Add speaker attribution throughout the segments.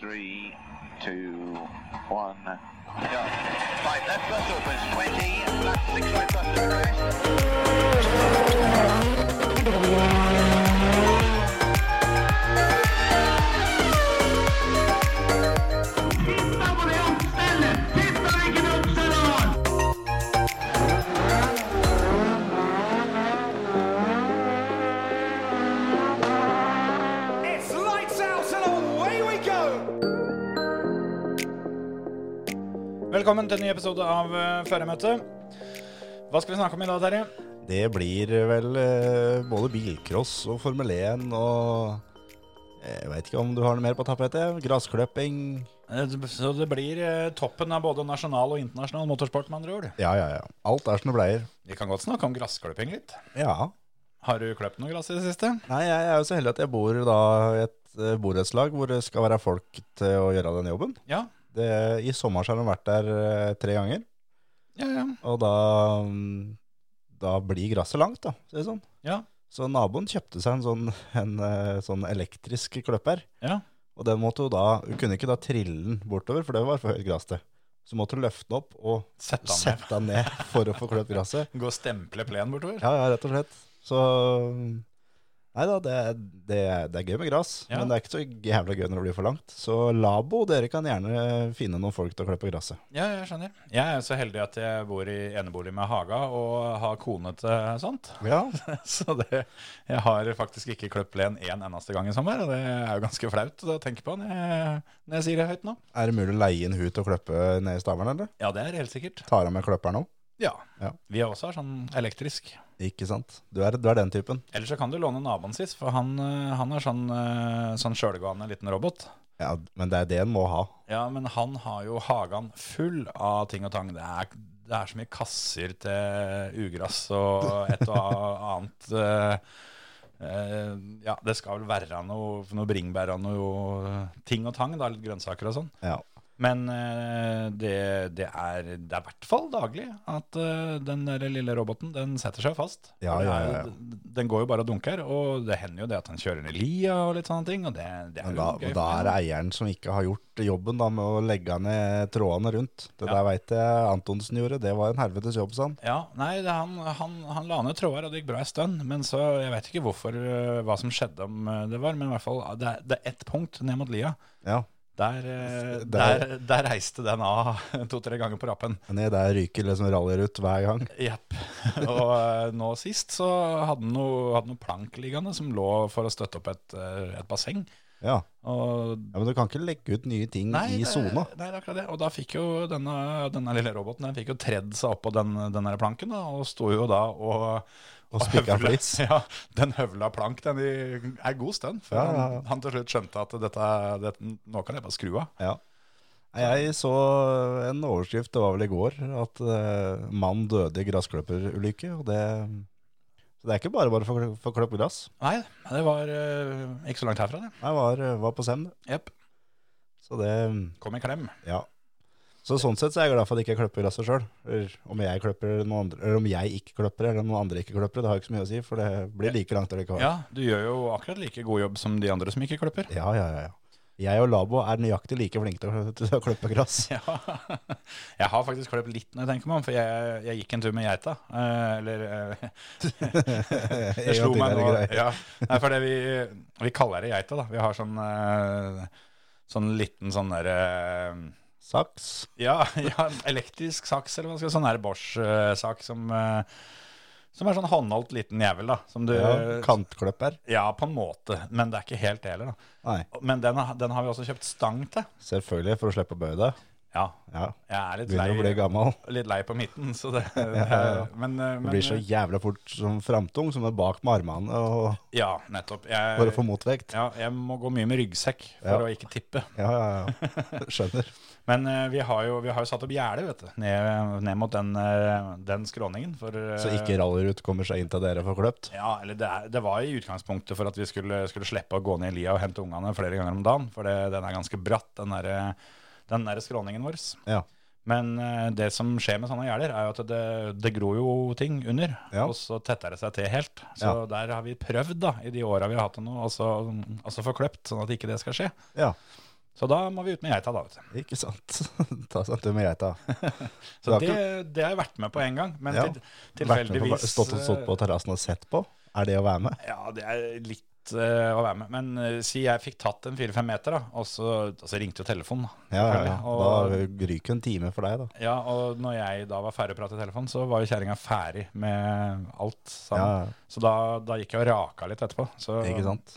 Speaker 1: Three, two, one, go. Right, left bus opens 20, left six right bus to progress.
Speaker 2: It's lights out and away we go!
Speaker 3: Velkommen til en ny episode av eh, Føremøte. Hva skal vi snakke om i dag, Terje?
Speaker 4: Det blir vel eh, både bilcross og Formel 1 og eh, Jeg veit ikke om du har noe mer på tapetet? Graskløpping
Speaker 3: Så det blir eh, toppen av både nasjonal og internasjonal motorsport, med andre ord.
Speaker 4: Ja, ja, ja. Alt er som det pleier.
Speaker 3: Vi kan godt snakke om grassklipping litt.
Speaker 4: Ja.
Speaker 3: Har du kløpt noe gress i det siste?
Speaker 4: Nei, jeg er jo så heldig at jeg bor da i et eh, borettslag hvor det skal være folk til å gjøre den jobben.
Speaker 3: Ja.
Speaker 4: Det, I sommer så har de vært der eh, tre ganger,
Speaker 3: Ja, ja.
Speaker 4: og da, mm, da blir gresset langt, da. Så, det er sånn.
Speaker 3: Ja.
Speaker 4: så naboen kjøpte seg en sånn, en, eh, sånn elektrisk kløpper.
Speaker 3: Ja.
Speaker 4: Og den måtte hun da, hun kunne ikke da trille den bortover, for det var for høyt gress til. Så måtte hun løfte den opp og
Speaker 3: Sett den ned.
Speaker 4: sette den ned for å få kløpt gresset.
Speaker 3: Gå og stemple plenen bortover.
Speaker 4: Ja, ja, rett og slett. Så mm, Nei da, det, er- det, er- det er gøy med gress,
Speaker 3: Ja.
Speaker 4: men det er ikke så jævla gøy når det blir for langt. Så Labo, dere kan gjerne finne noen folk til å klippe gresset.
Speaker 3: Ja, jeg skjønner. Jeg er jo så heldig at jeg bor i enebolig med haga og har kone til sånt.
Speaker 4: Ja.
Speaker 3: Så det, jeg har faktisk ikke kløpt plen én eneste gang i sommer, og det er jo ganske flaut å tenke på når jeg, når jeg sier det høyt nå.
Speaker 4: Er det mulig å leie inn hun til å klippe ned i Stavern, eller?
Speaker 3: Ja, det er helt sikkert.
Speaker 4: Tar hun med kløperen òg?
Speaker 3: Ja.
Speaker 4: Ja.
Speaker 3: Vi har også sånn elektrisk.
Speaker 4: Ikke sant. Du er, du er den typen.
Speaker 3: Eller så kan du låne naboen sist, for han, eh, han er sånn, eh, sånn sjølgående liten robot.
Speaker 4: Ja, men det er det en må ha.
Speaker 3: Ja, men han har jo hagen full av ting og tang. Det er, det er så mye kasser til ugress og et og annet. eh, eh, ja, det skal vel være noe, noe bringebær og noe ting og tang, da, litt grønnsaker og sånn.
Speaker 4: Ja.
Speaker 3: Men eh, det, det, er, det er i hvert fall daglig at eh, den der lille roboten den setter seg fast.
Speaker 4: Ja,
Speaker 3: For det er
Speaker 4: ja, ja,
Speaker 3: jo- Den går jo bare og dunker, og det hender jo det at han kjører ned lia og litt sånne ting. Og det, det er
Speaker 4: Men
Speaker 3: jo
Speaker 4: da,
Speaker 3: gøy.
Speaker 4: og da er det eieren som ikke har gjort jobben da, med å legge ned trådene rundt. Det
Speaker 3: Ja.
Speaker 4: der veit jeg Antonsen gjorde. Det var en helvetes jobb, sa han.
Speaker 3: Ja, nei, det, han, han, han la ned tråder, og det gikk bra en stund. Men så, jeg vet ikke hvorfor, eh, hva som skjedde om eh, det var, men i hvert fall, det er, det er ett punkt ned mot lia.
Speaker 4: Ja.
Speaker 3: Der, eh,
Speaker 4: Der-
Speaker 3: der, der reiste den av to-tre ganger på rappen.
Speaker 4: Ned der ryker liksom rallyer ut hver gang.
Speaker 3: Jepp. Og eh, nå sist så hadde han noe, hadde noe plank liggende som lå for å støtte opp et, eh, et basseng.
Speaker 4: Ja.
Speaker 3: Og
Speaker 4: ja, Men du kan ikke legge ut nye ting i
Speaker 3: det-
Speaker 4: sona.
Speaker 3: Nei, det er akkurat det. Og da fikk jo denne, denne lille roboten den fikk jo tredd seg opp på den, den der planken, da, og sto jo da og
Speaker 4: Og spikka
Speaker 3: høvla-
Speaker 4: flis.
Speaker 3: Ja, den høvla plank den i en god stund. For
Speaker 4: Ja, ja, ja.
Speaker 3: Han, han til slutt skjønte at dette, dette, nå kan jeg bare skru av.
Speaker 4: Ja. Nei, Jeg så en overskrift, det var vel i går, at eh, mann døde i gressklipperulykke. Og det Så det er ikke bare bare for å få klippe gress.
Speaker 3: Nei, det var eh, ikke så langt herfra, det.
Speaker 4: Jeg var, var på sem, det.
Speaker 3: Jepp.
Speaker 4: Så det
Speaker 3: Kom i klem.
Speaker 4: Ja. Så sånn sett så er jeg glad for at jeg ikke klipper gresset sjøl. Om jeg klipper eller noen andre, eller om jeg ikke klipper eller noen andre ikke klipper, det har ikke så mye å si, for det blir like langt allikevel.
Speaker 3: Ja, du gjør jo akkurat like god jobb som de andre som ikke klipper.
Speaker 4: Ja, ja, ja, ja. Jeg og Labo er nøyaktig like flinke til å- til å klippe gress.
Speaker 3: Ja. Jeg har faktisk kløpt litt når jeg tenker meg om, for jeg, jeg gikk en tur med geita. Eh, eller eh, Det slo meg nå. Ja. Nei, for det vi, vi kaller det geita, da. Vi har sånn, eh, sånn liten sånn derre
Speaker 4: Saks.
Speaker 3: ja, ja, elektrisk saks, eller hva skal jeg si. Sånn der Bosch-sak som, eh, som er sånn håndholdt liten jævel, da. Som du
Speaker 4: Ja, kantklipper.
Speaker 3: ja, på en måte. Men det er ikke helt det heller, da.
Speaker 4: Nei,
Speaker 3: Men den, har- den har vi også kjøpt stang til.
Speaker 4: selvfølgelig, for å slippe å bøye deg.
Speaker 3: Ja.
Speaker 4: Ja.
Speaker 3: Jeg er litt
Speaker 4: Begynner å bli
Speaker 3: lei,
Speaker 4: gammel.
Speaker 3: litt lei på midten, så det, det
Speaker 4: ja, ja.
Speaker 3: Men, eh,
Speaker 4: Du
Speaker 3: men
Speaker 4: blir så jævla fort som framtung, som er bak med armene, og
Speaker 3: Ja, nettopp. Jeg,
Speaker 4: bare for motvekt.
Speaker 3: Ja, jeg må gå mye med ryggsekk for
Speaker 4: Ja.
Speaker 3: å ikke tippe.
Speaker 4: Ja, ja, ja. Skjønner.
Speaker 3: Men eh, vi, har jo, vi har jo satt opp gjerde, vet du, ned, ned mot den, eh, den skråningen. For, eh,
Speaker 4: Så ikke rallyrut kommer seg inn til dere for kløpt.
Speaker 3: Ja, eller det, er, det var i utgangspunktet for at vi skulle, skulle slippe å gå ned i lia og hente ungene flere ganger om dagen, for det, den er ganske bratt, den der, den der skråningen vår.
Speaker 4: Ja.
Speaker 3: Men eh, det som skjer med sånne gjerder, er jo at det, det gror jo ting under,
Speaker 4: Ja.
Speaker 3: og så tetter det seg til helt. Så
Speaker 4: Ja.
Speaker 3: der har vi prøvd, da, i de åra vi har hatt det nå, altså, altså få kløpt, sånn at ikke det skal skje.
Speaker 4: Ja.
Speaker 3: Så da må vi ut med geita, da. vet du.
Speaker 4: Ikke sant? Ta sånn, seg en tur med geita. Du
Speaker 3: Så
Speaker 4: har
Speaker 3: det, det har jeg vært med på en gang, men
Speaker 4: Ja.
Speaker 3: til,
Speaker 4: Vært med på-
Speaker 3: tilfeldigvis eh,
Speaker 4: Stått, stått på terrassen og sett på? Er det å være med?
Speaker 3: Ja, det er litt eh, å være med. Men eh, si jeg fikk tatt en fire-fem meter, da, og så og så ringte jo telefonen. da,
Speaker 4: Ja, ja, ja.
Speaker 3: selvfølgelig,
Speaker 4: Da
Speaker 3: Og,
Speaker 4: ryker en time for deg, da.
Speaker 3: ja, og når jeg da var ferdig å prate i telefonen, så var jo kjerringa ferdig med alt sammen.
Speaker 4: Ja,
Speaker 3: Så da, da gikk jeg og raka litt etterpå. Så,
Speaker 4: ikke sant?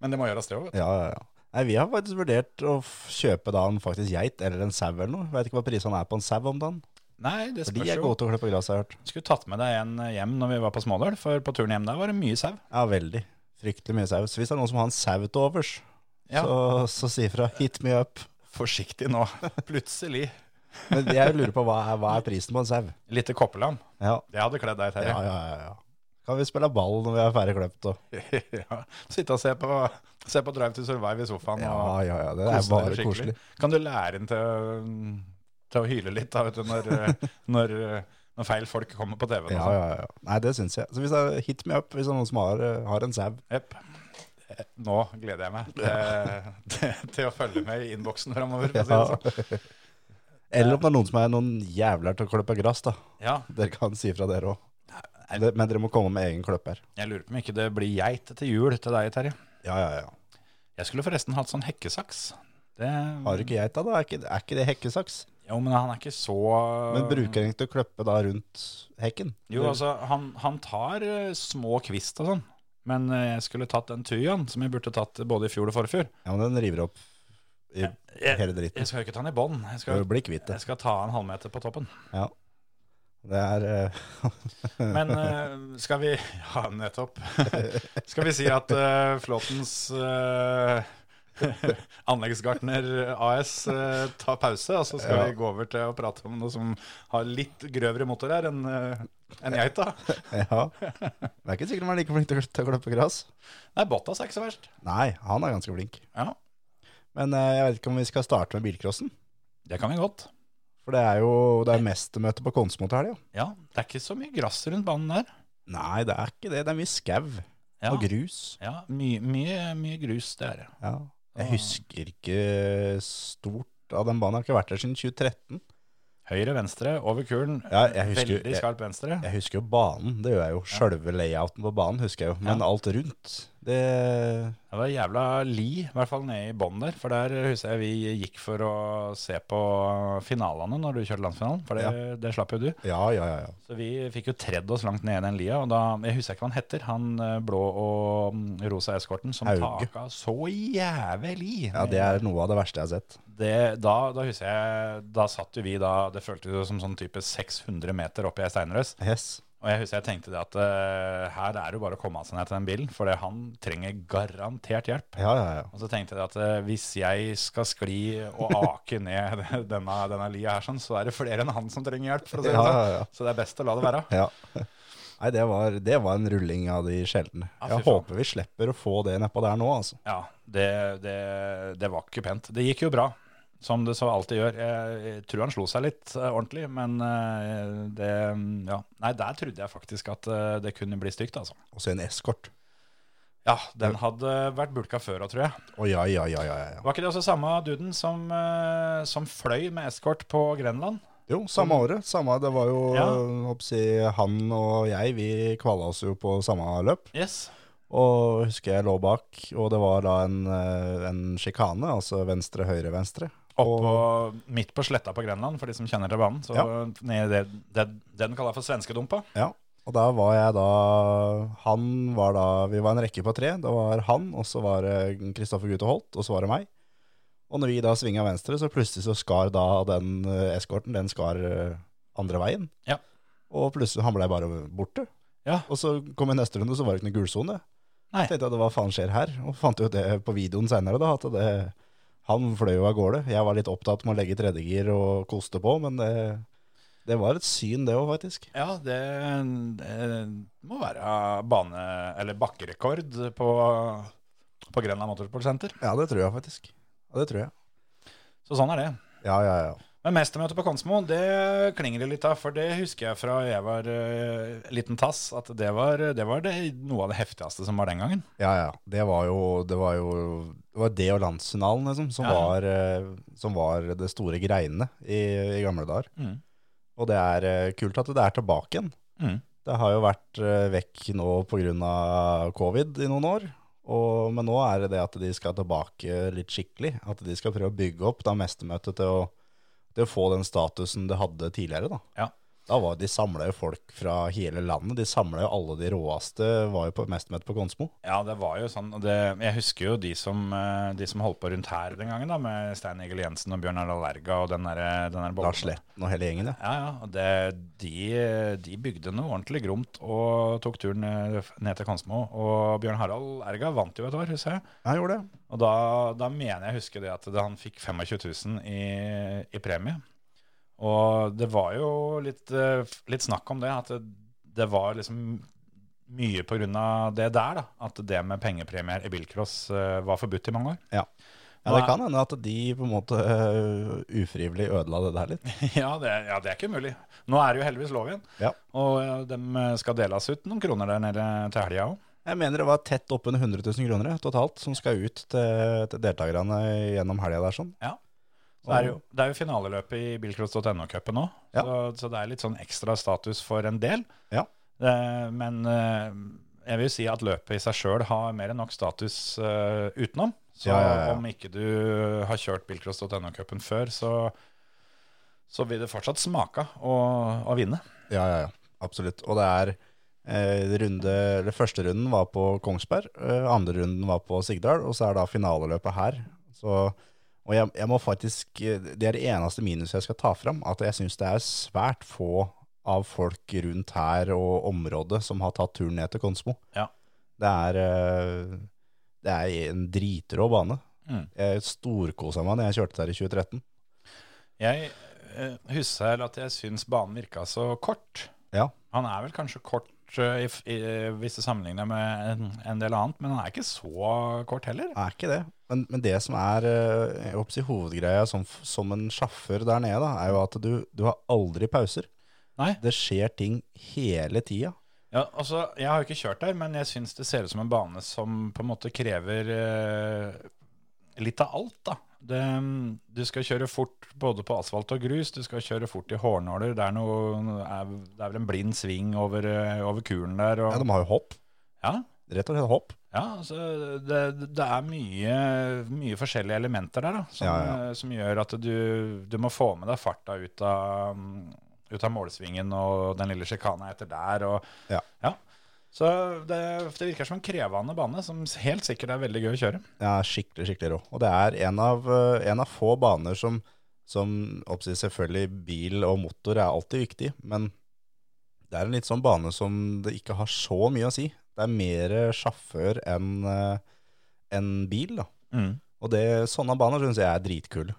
Speaker 3: Men det må gjøres, det òg, vet du.
Speaker 4: Ja, ja, ja. Nei, Vi har faktisk vurdert å f- kjøpe da en faktisk geit eller en sau eller noe. Vet ikke hva prisene er på en sau om dagen.
Speaker 3: Nei, det
Speaker 4: For de
Speaker 3: spørs
Speaker 4: er
Speaker 3: jo.
Speaker 4: gode til å klippe gress, har jeg hørt.
Speaker 3: Skulle tatt med deg en eh, hjem når vi var på Smådøl, for på turen hjem der var det mye sau.
Speaker 4: Ja, veldig. Fryktelig mye sau. Så hvis det er noen som har en sau til overs,
Speaker 3: Ja.
Speaker 4: så, så si fra. Hit me up.
Speaker 3: Forsiktig nå. Plutselig.
Speaker 4: Men jeg lurer på hva er, hva er prisen på en sau?
Speaker 3: Lite koppelam.
Speaker 4: Ja.
Speaker 3: Det hadde kledd deg,
Speaker 4: Ja,
Speaker 3: Terje.
Speaker 4: ja, ja, ja. Kan vi spille ball når vi er ferdig kløpt og
Speaker 3: ja. Sitte og se på, se på Drive to Survive i sofaen.
Speaker 4: Ja,
Speaker 3: og-
Speaker 4: ja, ja. Det er
Speaker 3: Kose deg
Speaker 4: bare
Speaker 3: skikkelig.
Speaker 4: koselig.
Speaker 3: Kan du lære den til, å- til å hyle litt da, vet du, når, eh, når, eh, når feil folk kommer på TV?
Speaker 4: Ja, ja, ja. Nei, det syns jeg. Så hvis det er hit me up hvis det er noen som har, eh, har en sau.
Speaker 3: Jepp. sånn? Eh, Nå gleder jeg meg til, til, til å følge med i innboksen framover.
Speaker 4: Ja.
Speaker 3: Ja.
Speaker 4: Eller om det er noen som er noen jævler til å klippe gress, da.
Speaker 3: ja,
Speaker 4: Dere kan si fra dere òg. Men dere må komme med egen kløpper.
Speaker 3: jeg lurer på om ikke det blir geit til jul til deg, Terje.
Speaker 4: Ja, ja, ja.
Speaker 3: Jeg skulle forresten hatt sånn hekkesaks. Det,
Speaker 4: Har du ikke geita, da? Er ikke, er ikke det hekkesaks?
Speaker 3: Jo, men han er ikke så
Speaker 4: Men bruker den ikke til å kløppe da rundt hekken?
Speaker 3: Jo, altså, han, han tar eh, små kvist og sånn. Men eh, jeg skulle tatt den tyen, som jeg burde tatt både i fjor og forfjor.
Speaker 4: Ja, men den river opp i
Speaker 3: Jeg,
Speaker 4: hele dritten.
Speaker 3: jeg skal jo ikke ta den i bånn. Jeg
Speaker 4: Du
Speaker 3: skal,
Speaker 4: blir kvitt det.
Speaker 3: jeg skal ta en halvmeter på toppen.
Speaker 4: Ja. Det er eh,
Speaker 3: Men eh, skal vi Ja, nettopp. skal vi si at eh, Flåtens eh, Anleggsgartner AS eh, tar pause, og så skal
Speaker 4: Ja.
Speaker 3: vi gå over til å prate om noe som har litt grøvere motor her enn eh, enn geita.
Speaker 4: Ja. Det er ikke sikkert han er like flink til å til å klippe gress.
Speaker 3: Nei, Bottas er ikke så verst.
Speaker 4: Nei, han er ganske flink.
Speaker 3: Ja,
Speaker 4: Men eh, jeg vet ikke om vi skal starte med bilcrossen.
Speaker 3: det kan vi godt.
Speaker 4: For det er jo det er mestermøte på Konsmo til helga.
Speaker 3: Ja, Det er ikke så mye gress rundt banen der.
Speaker 4: Nei, det er ikke det. Det er mye skau
Speaker 3: Ja,
Speaker 4: og grus.
Speaker 3: ja mye, mye, mye grus, det er det.
Speaker 4: Ja. Jeg husker ikke stort av den banen. Jeg har ikke vært der siden 2013.
Speaker 3: Høyre, venstre, over kulen.
Speaker 4: Ja, jeg husker-
Speaker 3: Veldig skarp venstre.
Speaker 4: Jeg husker jo banen, det gjør jeg jo. Sjølve layouten på banen husker jeg jo. Men
Speaker 3: Ja.
Speaker 4: alt rundt, det
Speaker 3: Det var jævla li, i hvert fall nede i bånn der. For der husker jeg vi gikk for å se på finalene når du kjørte landsfinalen. For det, det slapp jo du.
Speaker 4: Ja, ja, ja. ja.
Speaker 3: Så vi fikk jo tredd oss langt ned i den lia. Og da, jeg husker ikke hva han heter, han eh, blå og mm, rosa eskorten som
Speaker 4: Hauge.
Speaker 3: taka så jævlig.
Speaker 4: Ja, Det er noe av det verste jeg har sett.
Speaker 3: Det- da, da husker jeg, da satt jo vi da, det føltes jo som sånn type 600 meter opp i ei steinrøs.
Speaker 4: Yes.
Speaker 3: Og jeg husker jeg tenkte det at eh, her er det jo bare å komme av seg ned til den bilen, for det- han trenger garantert hjelp.
Speaker 4: Ja, ja, ja.
Speaker 3: Og så tenkte jeg at eh, hvis jeg skal skli og ake ned denne, denne lia her, sånn, så er det flere enn han som trenger hjelp. For å si det
Speaker 4: Ja,
Speaker 3: sånn.
Speaker 4: ja, ja.
Speaker 3: Så det er best å la det være.
Speaker 4: ja. Nei, det var, det var en rulling av de sjeldne.
Speaker 3: Ja, fy faen.
Speaker 4: Jeg håper vi slipper å få det nedpå der nå, altså.
Speaker 3: Ja, det, det, det var ikke pent. Det gikk jo bra, som det så alltid gjør. Jeg, jeg tror han slo seg litt eh, ordentlig, men eh, det Ja. Nei, der trodde jeg faktisk at eh, det kunne bli stygt, altså.
Speaker 4: Og så en eskort.
Speaker 3: Ja, den hadde vært bulka før òg, tror jeg.
Speaker 4: Å ja, ja, ja, ja, ja.
Speaker 3: Var ikke det også samme duden som, eh, som fløy med eskort på Grenland?
Speaker 4: Jo, samme året. Samme, det var jo
Speaker 3: Mm. Ja.
Speaker 4: håper jeg å si, han og jeg, vi kvala oss jo på samme løp.
Speaker 3: Yes.
Speaker 4: Og husker jeg lå bak, og det var da en, eh, en sjikane, altså venstre, høyre, venstre.
Speaker 3: Oppå, midt på sletta på Grenland, for de som kjenner til banen. Så
Speaker 4: Ja.
Speaker 3: ned i det, det, det den kaller for svenskedumpa.
Speaker 4: Ja, og da var jeg da Han var da Vi var en rekke på tre. Det var han, og så var det Kristoffer Gute Holt, og så var det meg. Og når vi da svinga venstre, så plutselig så skar da den eh, eskorten Den skar eh, andre veien.
Speaker 3: Ja.
Speaker 4: Og plutselig han blei bare borte.
Speaker 3: Ja.
Speaker 4: Og så kom jeg neste runde, og så var det ikke noe gulsone.
Speaker 3: Nei.
Speaker 4: Tenkte jeg, hva faen skjer her? Og fant jo det på videoen seinere, da. At det, han fløy jo av gårde. Jeg var litt opptatt med å legge tredjegir og koste på, men det, det var et syn, det òg, faktisk.
Speaker 3: Ja, det, det må være bane- eller bakkerekord på, på Grenland Motorsportsenter.
Speaker 4: Ja, det tror jeg faktisk. Ja, det tror jeg.
Speaker 3: Så sånn er det.
Speaker 4: Ja, ja, ja.
Speaker 3: Men mestermøtet på Konsmo, det klinger det litt av. For det husker jeg fra jeg var eh, liten tass, at det var, det var det, noe av det heftigste som var den gangen.
Speaker 4: Ja, ja. Det var jo Det var, jo, det, var det og landsfinalen liksom, som,
Speaker 3: Ja.
Speaker 4: var, eh, som var det store greiene i, i gamle dager.
Speaker 3: Mm.
Speaker 4: Og det er eh, kult at det er tilbake igjen.
Speaker 3: Mm.
Speaker 4: Det har jo vært eh, vekk nå pga. covid i noen år. Og, men nå er det det at de skal tilbake litt skikkelig. At de skal prøve å bygge opp da mestermøtet til å, til å få den statusen det hadde tidligere. Da,
Speaker 3: Ja.
Speaker 4: da var, De samla jo folk fra hele landet. De samla jo alle de råeste var jo på mestermøtet på Konsmo.
Speaker 3: Ja, det var jo sånn. og Det, jeg husker jo de som, eh, de som holdt på rundt her den gangen, da, med Stein Egil Jensen og Bjørn Arne Lerga og den derre den der
Speaker 4: Lars
Speaker 3: bollen.
Speaker 4: Letten og hele gjengen, ja.
Speaker 3: Ja, ja. og Det, de, de bygde noe ordentlig gromt og tok turen eh, ned til Konsmo. Og Bjørn Harald Erga vant jo et år, husker jeg.
Speaker 4: Jeg gjorde det.
Speaker 3: Og da, da mener jeg å huske det at det, han fikk 25 000 i, i premie. Og det var jo litt, eh, f- litt snakk om det, at det, det var liksom mye på grunn av det der, da. At det med pengepremier i bilcross eh, var forbudt i mange år.
Speaker 4: Ja. ja, det kan hende at de på en måte øh, ufrivillig ødela det der litt.
Speaker 3: Ja det, ja, det er ikke umulig. Nå er det jo heldigvis lov igjen.
Speaker 4: Ja.
Speaker 3: Og eh, dem skal deles ut noen kroner der nede til helga òg.
Speaker 4: Jeg mener det var tett oppunder 100 000 kroner ja, totalt, som skal ut til, til deltakerne gjennom helga der. sånn.
Speaker 3: Ja. Så det, er jo, det er jo finaleløpet i bilcross.no-cupen nå, så, så det er litt sånn ekstra status for en del.
Speaker 4: Ja.
Speaker 3: Eh, men eh, jeg vil si at løpet i seg sjøl har mer enn nok status eh, utenom. Så
Speaker 4: Ja, ja, ja.
Speaker 3: om ikke du har kjørt bilcross.no-cupen før, så, så vil det fortsatt smake å, å vinne.
Speaker 4: Ja, ja, ja. Absolutt. Og det er eh, runde, eller første runden var på Kongsberg, eh, andre runden var på Sigdal, og så er da finaleløpet her. Så, og jeg, jeg må faktisk, eh, det er det eneste minuset jeg skal ta fram, at jeg syns det er svært få av folk rundt her og området som har tatt turen ned til Konsmo.
Speaker 3: Ja.
Speaker 4: Det er, eh, det er en dritrå bane.
Speaker 3: Mm.
Speaker 4: Jeg storkosa meg da jeg kjørte der i 2013.
Speaker 3: Jeg eh, husker at jeg syns banen virka så kort.
Speaker 4: Ja.
Speaker 3: Han er vel kanskje kort eh, i, f- i, hvis du sammenligner med en, en del annet, men han er ikke så kort heller.
Speaker 4: er ikke det. Men, men det som er eh, jeg håper å si, hovedgreia som, f- som en sjaffer der nede, da, er jo at du, du har aldri pauser.
Speaker 3: Nei.
Speaker 4: Det skjer ting hele tida.
Speaker 3: Ja, altså, jeg har jo ikke kjørt der, men jeg syns det ser ut som en bane som på en måte krever eh, litt av alt, da. Det, mm, du skal kjøre fort både på asfalt og grus, du skal kjøre fort i hårnåler. Det er, noe, er, det er vel en blind sving over, eh, over kulen der.
Speaker 4: Ja,
Speaker 3: Og,
Speaker 4: de har jo hopp.
Speaker 3: ja,
Speaker 4: Rett og slett hopp.
Speaker 3: ja altså, det, det er mye, mye forskjellige elementer der da, som,
Speaker 4: Ja, ja.
Speaker 3: eh, som gjør at du, du må få med deg farta ut av, mm, ut av målsvingen og den lille sjikana etter der. Og,
Speaker 4: Ja.
Speaker 3: Så det, det virker som en krevende bane, som helt sikkert er veldig gøy å kjøre.
Speaker 4: Ja, skikkelig, skikkelig rå. Og det er en av, eh, en av få baner som, som oppsi, selvfølgelig bil og motor er alltid viktig, men det er en litt sånn bane som det ikke har så mye å si. Det er mer eh, sjåfør enn eh, enn bil, da.
Speaker 3: Mm.
Speaker 4: Og det, sånne baner syns jeg er dritkule.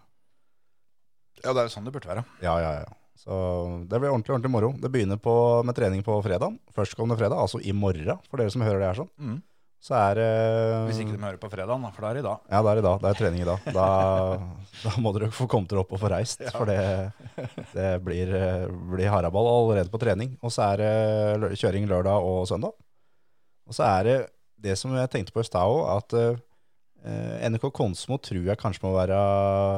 Speaker 3: Ja, det er jo sånn det burde være.
Speaker 4: Ja, ja, ja. Så det blir ordentlig, ordentlig moro. Det begynner på, med trening på fredagen. Førstkommende fredag, altså i morgen, for dere som hører det her sånn.
Speaker 3: Mm.
Speaker 4: Så er eh,
Speaker 3: Hvis ikke de hører på fredagen, da, for da er det i dag.
Speaker 4: Ja, det er i dag. Det er trening i dag. Da, da må dere få kommet dere opp og få reist, for det, det blir, eh, blir haraball allerede på trening. Og så er det lø- kjøring lørdag og søndag. Og så er det det som jeg tenkte på i stad òg, at eh, NRK Konsmo tror jeg kanskje må være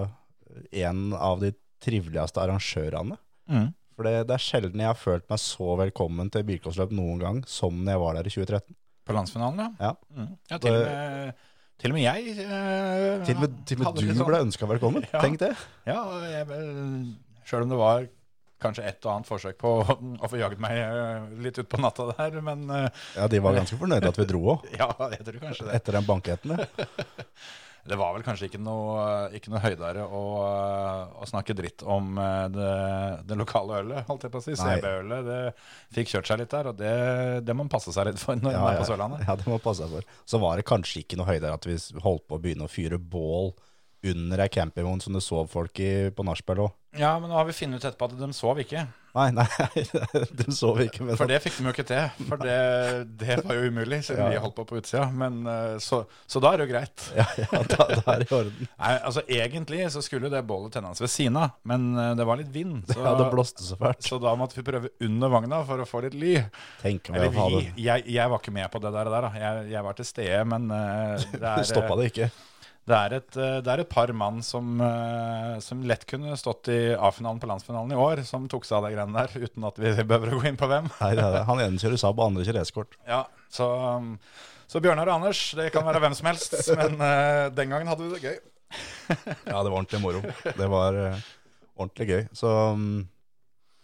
Speaker 4: eh, en av de triveligste arrangørene.
Speaker 3: Mm.
Speaker 4: For det, det er sjelden jeg har følt meg så velkommen til bilcrossløp noen gang som når jeg var der i 2013.
Speaker 3: På landsfinalen, ja.
Speaker 4: Ja.
Speaker 3: Mm. ja til, og med, til og med jeg eh,
Speaker 4: Til og med, til og
Speaker 3: hadde
Speaker 4: med
Speaker 3: litt
Speaker 4: du
Speaker 3: sånn-
Speaker 4: ble ønska velkommen.
Speaker 3: Ja.
Speaker 4: Tenk det.
Speaker 3: Ja, og jeg, eh, selv om det var kanskje et og annet forsøk på å, å få jaget meg eh, litt ut på natta der, men eh,
Speaker 4: Ja, De var ganske fornøyde at vi dro òg,
Speaker 3: ja, jeg tror kanskje det.
Speaker 4: etter den banketten. ja.
Speaker 3: Det var vel kanskje ikke noe, ikke noe høydere å, eh, å snakke dritt om eh, det, det lokale ølet, holdt jeg på å si.
Speaker 4: Nei.
Speaker 3: CB-ølet, det fikk kjørt seg litt der, og det, det må man passe seg litt for når
Speaker 4: Ja,
Speaker 3: man er
Speaker 4: ja.
Speaker 3: på Sørlandet.
Speaker 4: ja, det må passe seg for. Så var det kanskje ikke noe høyde at vi holdt på å begynne å fyre bål under ei campingvogn som det sov folk i på nachspiel òg.
Speaker 3: Ja, men nå har vi funnet ut etterpå at de sov ikke.
Speaker 4: Nei, nei, de sov ikke. sånn. Men
Speaker 3: For det fikk de jo ikke til. For det, det var jo umulig, siden
Speaker 4: Ja.
Speaker 3: vi holdt på på utsida. Men, eh, så, så da er det jo greit.
Speaker 4: ja, ja, da, da er det i orden.
Speaker 3: Nei, altså Egentlig så skulle jo det bålet tenne hans ved siden av, men eh, det var litt vind. Så,
Speaker 4: Ja, det blåste så fælt.
Speaker 3: så da måtte vi prøve under vogna for å få litt ly.
Speaker 4: Tenk om jeg
Speaker 3: Eller
Speaker 4: hadde
Speaker 3: vi. Jeg, jeg var ikke med på det der. der da. Jeg, jeg var til stede, men eh, det
Speaker 4: Du
Speaker 3: er,
Speaker 4: stoppa det ikke.
Speaker 3: Det er et, eh, det er et par mann som, eh, som lett kunne stått i A-finalen på landsfinalen i år, som tok seg av de greiene der, uten at vi behøver å gå inn på hvem.
Speaker 4: Nei, det er det. Han ene kjører Saab, og andre kjører S-kort.
Speaker 3: Ja, så, um, så Bjørnar og Anders, det kan være hvem som helst, men eh, den gangen hadde vi det gøy.
Speaker 4: Ja, det var ordentlig moro. Det var eh, ordentlig gøy. Så mm,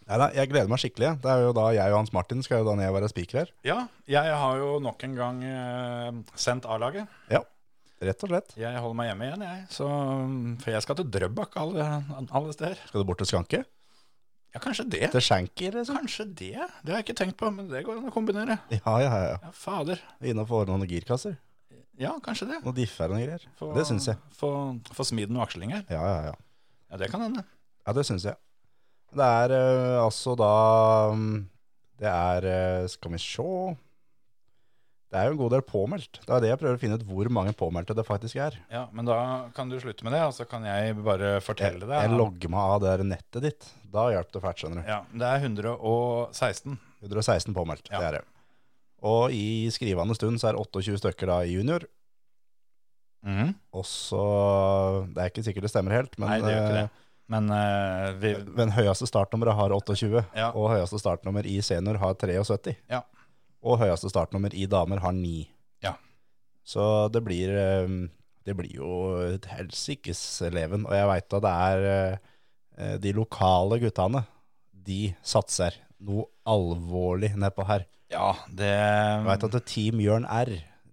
Speaker 4: Nei da, jeg gleder meg skikkelig. Det er jo da jeg og Hans Martin skal jo da ned og være spiker her.
Speaker 3: Ja, jeg har jo nok en gang eh, sendt A-laget.
Speaker 4: Ja, rett og slett.
Speaker 3: Jeg holder meg hjemme igjen, jeg. Så, um, for jeg skal til Drøbak alle, alle steder.
Speaker 4: Skal du bort til Skanke?
Speaker 3: Ja, kanskje det.
Speaker 4: Til Shanky, liksom?
Speaker 3: Kanskje det. Det har jeg ikke tenkt på, men det går an å kombinere.
Speaker 4: Ja, ja, ja.
Speaker 3: Ja, fader.
Speaker 4: ja. Innafor noen girkasser.
Speaker 3: Ja, kanskje det.
Speaker 4: Noen differ og noen greier.
Speaker 3: Få-
Speaker 4: Det syns jeg.
Speaker 3: Få, få smidd noen akslinger.
Speaker 4: Ja, ja, ja.
Speaker 3: Ja, det kan hende.
Speaker 4: Ja, det syns jeg. Det er eh, altså da mm, Det er eh, Skal vi se Det er jo en god del påmeldt. Det er det jeg prøver å finne ut hvor mange påmeldte det faktisk er.
Speaker 3: Ja, Men da kan du slutte med det, og så kan jeg bare
Speaker 4: Jeg,
Speaker 3: fortelle deg.
Speaker 4: jeg logger meg av det der nettet ditt. Da hjalp det fælt, skjønner du.
Speaker 3: Ja, Det er 116.
Speaker 4: 116 påmeldt,
Speaker 3: Ja.
Speaker 4: det er det. Og i skrivende stund så er det 28 stykker da i junior.
Speaker 3: Mhm.
Speaker 4: Og så Det er ikke sikkert det stemmer helt, men,
Speaker 3: Nei, det gjør ikke
Speaker 4: eh,
Speaker 3: det. Men eh, vi
Speaker 4: men høyeste startnummeret har 28.
Speaker 3: Ja.
Speaker 4: Og høyeste startnummer i senior har 73.
Speaker 3: Ja.
Speaker 4: Og høyeste startnummer i damer har 9.
Speaker 3: Ja.
Speaker 4: Så det blir, eh, det blir jo et helsikes leven. Og jeg veit at det er eh, de lokale guttene, de satser noe alvorlig nedpå her.
Speaker 3: Ja, det
Speaker 4: Jeg veit at Team Jørn R,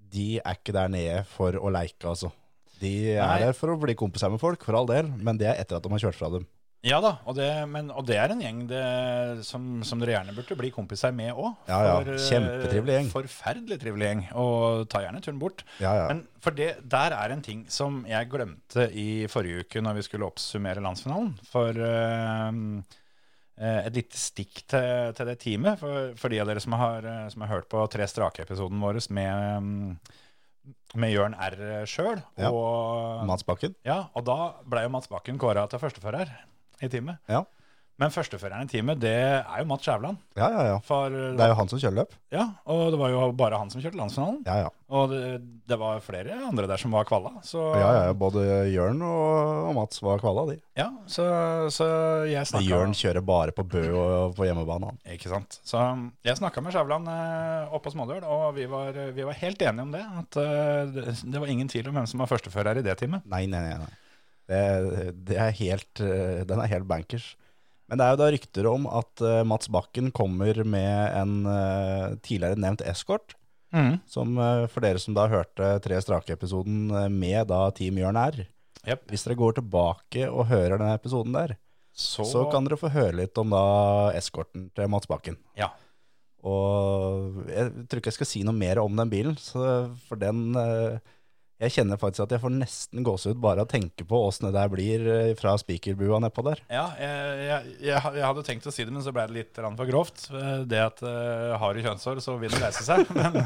Speaker 4: de er ikke der nede for å leike, altså. De er
Speaker 3: Nei.
Speaker 4: der for å bli kompiser med folk, for all del, men det er etter at de har kjørt fra dem.
Speaker 3: Ja da, og det, men, og det er en gjeng det, som, som dere gjerne burde bli kompiser med òg.
Speaker 4: Ja, ja, kjempetrivelig gjeng.
Speaker 3: Forferdelig trivelig gjeng. Og ta gjerne turen bort.
Speaker 4: Ja, ja.
Speaker 3: Men for det, der er en ting som jeg glemte i forrige uke når vi skulle oppsummere landsfinalen. For eh, eh, et lite stikk til, til det teamet, for, for de av dere som har, eh, som har hørt på tre strake-episoden vår med, mm, med Jørn R. sjøl.
Speaker 4: Ja.
Speaker 3: Og
Speaker 4: Mads Bakken?
Speaker 3: ja, og da ble jo Mats Bakken kåra til førstefører i teamet.
Speaker 4: Ja.
Speaker 3: Men førsteføreren i teamet, det er jo Mats Skjævland.
Speaker 4: Ja, ja, ja.
Speaker 3: For,
Speaker 4: Det er jo han som kjører løp.
Speaker 3: ja, og det var jo bare han som kjørte landsfinalen.
Speaker 4: Ja, ja.
Speaker 3: Og det, det var flere andre der som var kvalla. Så,
Speaker 4: Ja, ja, ja. Både Jørn og, og Mats var kvala, de.
Speaker 3: ja, så, så jeg
Speaker 4: Men
Speaker 3: snakka
Speaker 4: Jørn kjører bare på Bø og på hjemmebane, han.
Speaker 3: Ikke sant. Så um, jeg snakka med Skjævland eh, oppå Smådøl, og vi var, vi var helt enige om det. At eh, det, det var ingen tvil om hvem som var førstefører i det teamet.
Speaker 4: Nei, nei, nei. nei. Det, det er helt, eh, den er helt bankers. Men det er jo da rykter om at eh, Mats Bakken kommer med en eh, tidligere nevnt eskort. Som eh, for dere som da hørte Tre strake-episoden eh, med da Team Jørn R.
Speaker 3: Jep.
Speaker 4: Hvis dere går tilbake og hører den episoden der,
Speaker 3: Så,
Speaker 4: så kan dere få høre litt om da eskorten til Mats Bakken.
Speaker 3: Ja.
Speaker 4: Og jeg tror ikke jeg skal si noe mer om den bilen, så for den eh, Jeg kjenner faktisk at jeg får nesten gåsehud bare av å tenke på åssen det der blir eh, fra spikerbua nedpå der.
Speaker 3: Ja, jeg, jeg, jeg, ha- jeg hadde tenkt å si det, men så ble det litt grann for grovt. Eh, Det at uh, har du kjønnshår, så vil det reise seg. Men,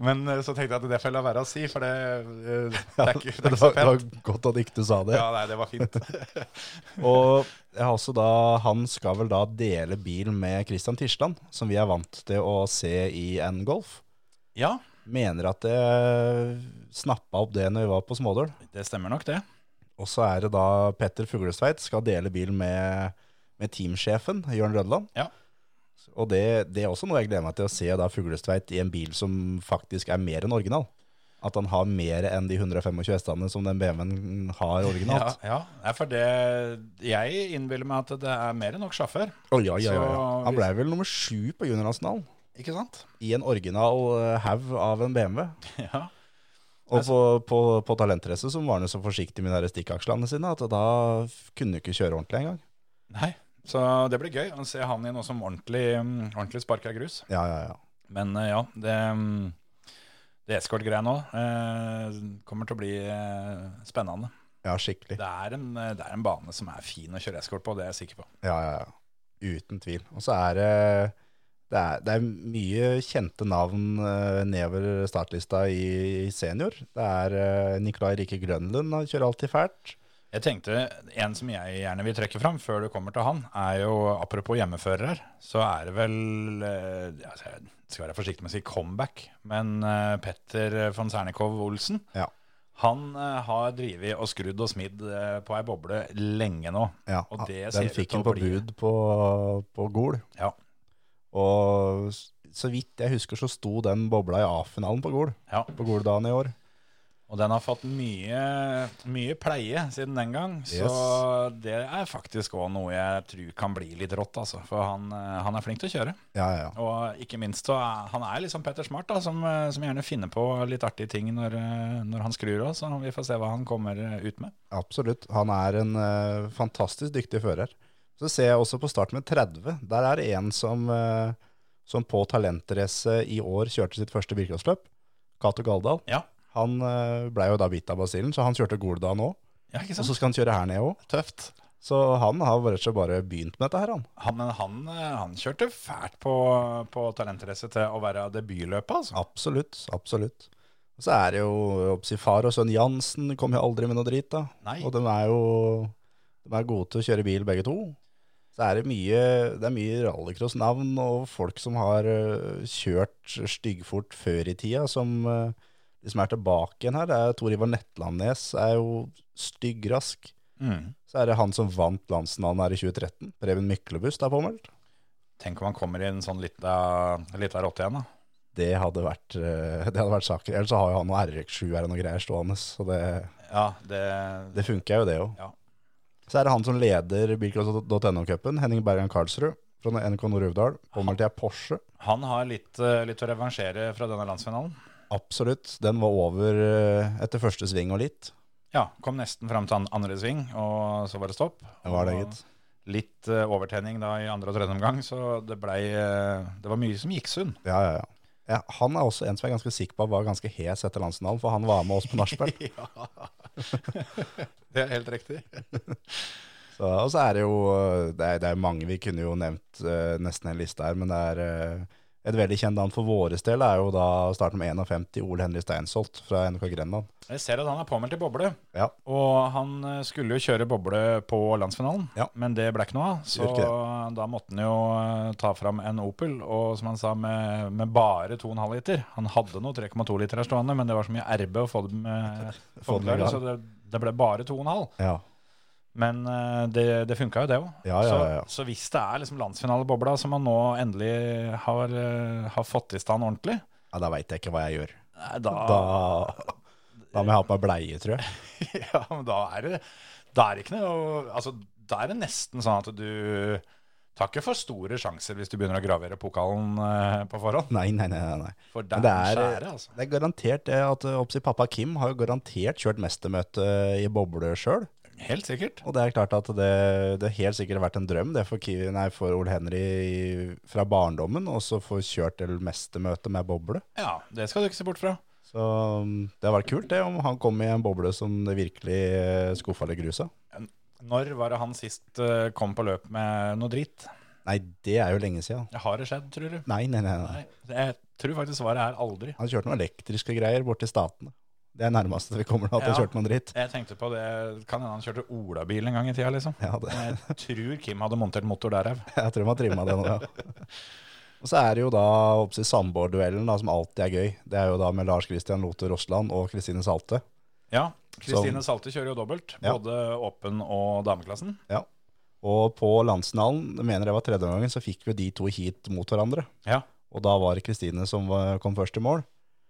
Speaker 3: men eh, så tenkte jeg at det får jeg la være å si, for det, eh, det er ikke, det er
Speaker 4: Det
Speaker 3: ikke så
Speaker 4: var, det var
Speaker 3: pent.
Speaker 4: godt at ikke du sa det.
Speaker 3: Ja, nei, det var fint.
Speaker 4: Og jeg har også da, han skal vel da dele bil med Christian Tisland, som vi er vant til å se i en golf.
Speaker 3: Ja,
Speaker 4: Mener at jeg snappa opp det når vi var på Smådøl.
Speaker 3: det stemmer nok, det.
Speaker 4: Og så er det da Petter Fuglesveit skal dele bil med, med teamsjefen, Jørn Rødland.
Speaker 3: Ja.
Speaker 4: Og det, det er også noe jeg gleder meg til å se da Fuglestveit i en bil som faktisk er mer enn original. At han har mer enn de 125 hestene som den BMW-en har
Speaker 3: Ja,
Speaker 4: originalt.
Speaker 3: ja. Nei, for det, jeg innbiller meg at det er mer enn nok sjåfør.
Speaker 4: Å, ja, ja, ja, ja.
Speaker 3: Så
Speaker 4: Han
Speaker 3: hvis-
Speaker 4: ble vel nummer sju på juniornasjonalen
Speaker 3: Ikke sant?
Speaker 4: i en original eh, haug av en BMW.
Speaker 3: Ja.
Speaker 4: Og på,
Speaker 3: Altså-
Speaker 4: på, på talentrace så var han jo så forsiktig med de der stikkaksjene sine at da kunne han ikke kjøre ordentlig engang.
Speaker 3: Nei. Så det blir gøy å se han i noe som ordentlig, mm, ordentlig sparker grus.
Speaker 4: Ja, ja, ja.
Speaker 3: Men eh, ja, det, mm, det escort-greia nå eh, kommer til å bli eh, spennende.
Speaker 4: Ja, skikkelig.
Speaker 3: Det er, en, eh, det er en bane som er fin å kjøre escort på, det er jeg sikker på.
Speaker 4: Ja, ja, ja. Uten tvil. Og så er det det er, det er mye kjente navn eh, nedover startlista i, i senior. Det er eh, Nikolai Rike Grønlund, han kjører alltid fælt.
Speaker 3: Jeg tenkte, En som jeg gjerne vil trekke fram før du kommer til han, er jo apropos hjemmeførere, så er det vel eh, altså, Jeg skal være forsiktig med å si comeback, men eh, Petter von Sernikov Olsen
Speaker 4: Ja.
Speaker 3: Han eh, har drevet og skrudd og smidd eh, på ei boble lenge nå.
Speaker 4: ja.
Speaker 3: Og det ser
Speaker 4: Den
Speaker 3: ut
Speaker 4: fikk
Speaker 3: til
Speaker 4: han
Speaker 3: å
Speaker 4: på
Speaker 3: bli-
Speaker 4: bud på, på Gol.
Speaker 3: Ja,
Speaker 4: Og s- så vidt jeg husker, så sto den bobla i A-finalen på Gol.
Speaker 3: ja.
Speaker 4: På Goldagen i år.
Speaker 3: Og den har fått mye, mye pleie siden den gang, så det er faktisk òg noe jeg tror kan bli litt rått, altså. For han, eh, han er flink til å kjøre.
Speaker 4: Ja, ja, ja.
Speaker 3: Og ikke minst så er han er liksom Petter Smart, da, som, eh, som gjerne finner på litt artige ting når, eh, når han skrur av. Så vi får se hva han kommer eh, ut med.
Speaker 4: Absolutt. Han er en eh, fantastisk dyktig fører. Så ser jeg også på start med 30. Der er det en som, eh, som på talentrace i år kjørte sitt første bilcrossløp. Cato Galdal.
Speaker 3: Ja,
Speaker 4: Han eh, ble jo da bitt av basillen, så han kjørte Golda nå.
Speaker 3: ja ikke
Speaker 4: Og
Speaker 3: sant?
Speaker 4: så skal han kjøre her nede òg.
Speaker 3: Tøft.
Speaker 4: Så han har rett og slett bare begynt med dette her, han.
Speaker 3: Han, men han, eh, han kjørte fælt på, på talentrace til å være debutløpet, altså.
Speaker 4: Absolutt. Absolutt. Og så er det jo jeg håper å si, far og sønn Jansen kom jo aldri med noe drit, da.
Speaker 3: Nei.
Speaker 4: Og de er jo de er gode til å kjøre bil, begge to. Så er det mye, det er mye rallycross-navn og folk som har øh, kjørt styggfort før i tida, som øh, liksom er tilbake igjen her. Det er Tor Ivar Netlandnes er jo styggrask.
Speaker 3: Mm.
Speaker 4: Så er det han som vant landsnavnet her i 2013. Preben Myklebust er påmeldt.
Speaker 3: Tenk om han kommer i en sånn lita, lita rotte igjen, da.
Speaker 4: Det hadde vært, øh, det hadde vært saker. Ellers så har jo han noe RX7 her og noe greier stående, så det,
Speaker 3: Ja, det,
Speaker 4: det funker jo, det òg.
Speaker 3: Ja.
Speaker 4: Så er det han som leder bilcross.no-cupen, Henning Bergan Karlsrud fra NRK Nord-Uvdal. Kommer til Porsche.
Speaker 3: Han har litt, eh, litt å revansjere fra denne landsfinalen.
Speaker 4: Absolutt. Den var over eh, etter første sving og litt.
Speaker 3: Ja, kom nesten fram til an- andre sving, og så var det stopp.
Speaker 4: Det var det,
Speaker 3: Og
Speaker 4: gitt.
Speaker 3: Litt eh, overtenning da i andre og tredje omgang, så det blei eh, Det var mye som gikk sunn.
Speaker 4: Ja, ja, ja. Ja, han er også en som jeg er ganske sikker på var ganske hes etter landsfinalen, for han var med oss på nachspiel.
Speaker 3: Det er helt riktig.
Speaker 4: Så- Og så er det jo eh, det er, det er mange, vi kunne jo nevnt eh, nesten en liste her, men det er eh, et veldig kjent navn for våres del er jo da starten med 51, Ole Henry Steinsholt fra NRK Grenland.
Speaker 3: Jeg ser at han er påmeldt i boble,
Speaker 4: Ja,
Speaker 3: og han eh, skulle jo kjøre boble på landsfinalen,
Speaker 4: Ja.
Speaker 3: men det blei ikke noe av. Så
Speaker 4: Gjorde
Speaker 3: da måtte han jo eh, ta fram en Opel, og som han sa, med, med bare 2,5 liter. Han hadde noe 3,2 liter her stående, men det var så mye RB å få det med,
Speaker 4: Få det
Speaker 3: klare,
Speaker 4: med gang.
Speaker 3: så det, det ble bare 2,5.
Speaker 4: ja.
Speaker 3: Men eh, det, det funka jo, det òg.
Speaker 4: Ja, ja,
Speaker 3: så,
Speaker 4: ja, ja.
Speaker 3: så hvis det er liksom landsfinalebobla som man nå endelig har, eh, har fått i stand ordentlig,
Speaker 4: ja da veit jeg ikke hva jeg gjør.
Speaker 3: nei, da,
Speaker 4: Da, da må jeg ha på meg bleie, tror jeg.
Speaker 3: ja, men da er det Da er det ikke noe altså, Da er det nesten sånn at du tar ikke for store sjanser hvis du begynner å gravere pokalen eh, på forhånd.
Speaker 4: Nei, nei, nei. nei, nei.
Speaker 3: For
Speaker 4: Men
Speaker 3: der
Speaker 4: det
Speaker 3: er
Speaker 4: er,
Speaker 3: skjære, altså.
Speaker 4: det er garantert det at eh, oppsi pappa Kim har jo garantert kjørt mestermøte i boble sjøl.
Speaker 3: Helt sikkert.
Speaker 4: Og det er klart at det, det helt sikkert har vært en drøm det for, Ki- nei, for Ole Henry i- fra barndommen, og så få kjørt til mestermøte med boble.
Speaker 3: Ja, det skal du ikke se bort fra.
Speaker 4: Så mm, det har vært kult det, om han kom i en boble som det virkelig eh, skuffa eller grusa.
Speaker 3: Når var det han sist eh, kom på løp med noe dritt?
Speaker 4: Nei, det er jo lenge sia.
Speaker 3: Har det skjedd, tror du?
Speaker 4: Nei, nei, nei, nei.
Speaker 3: Nei, jeg tror faktisk svaret er aldri.
Speaker 4: Han kjørte noen elektriske greier bort til Statene. Det er nærmeste vi kommer til at han
Speaker 3: Ja.
Speaker 4: kjørte noen dritt.
Speaker 3: Jeg tenkte på det, kan hende han kjørte olabil en gang i tida, liksom.
Speaker 4: Ja, det,
Speaker 3: Jeg tror Kim hadde montert motor derav.
Speaker 4: Jeg tror man trimma det nå, ja. Og så er det jo da oppsi samboerduellen da, som alltid er gøy. Det er jo da med Lars Christian Lote Rossland og Kristine Salte.
Speaker 3: Ja, Kristine Salte kjører jo dobbelt,
Speaker 4: Ja.
Speaker 3: både åpen og dameklassen.
Speaker 4: Ja. Og på landsfinalen, jeg mener det var tredje gangen, så fikk vi de to hit mot hverandre.
Speaker 3: Ja.
Speaker 4: Og da var det Kristine som var- kom først i mål.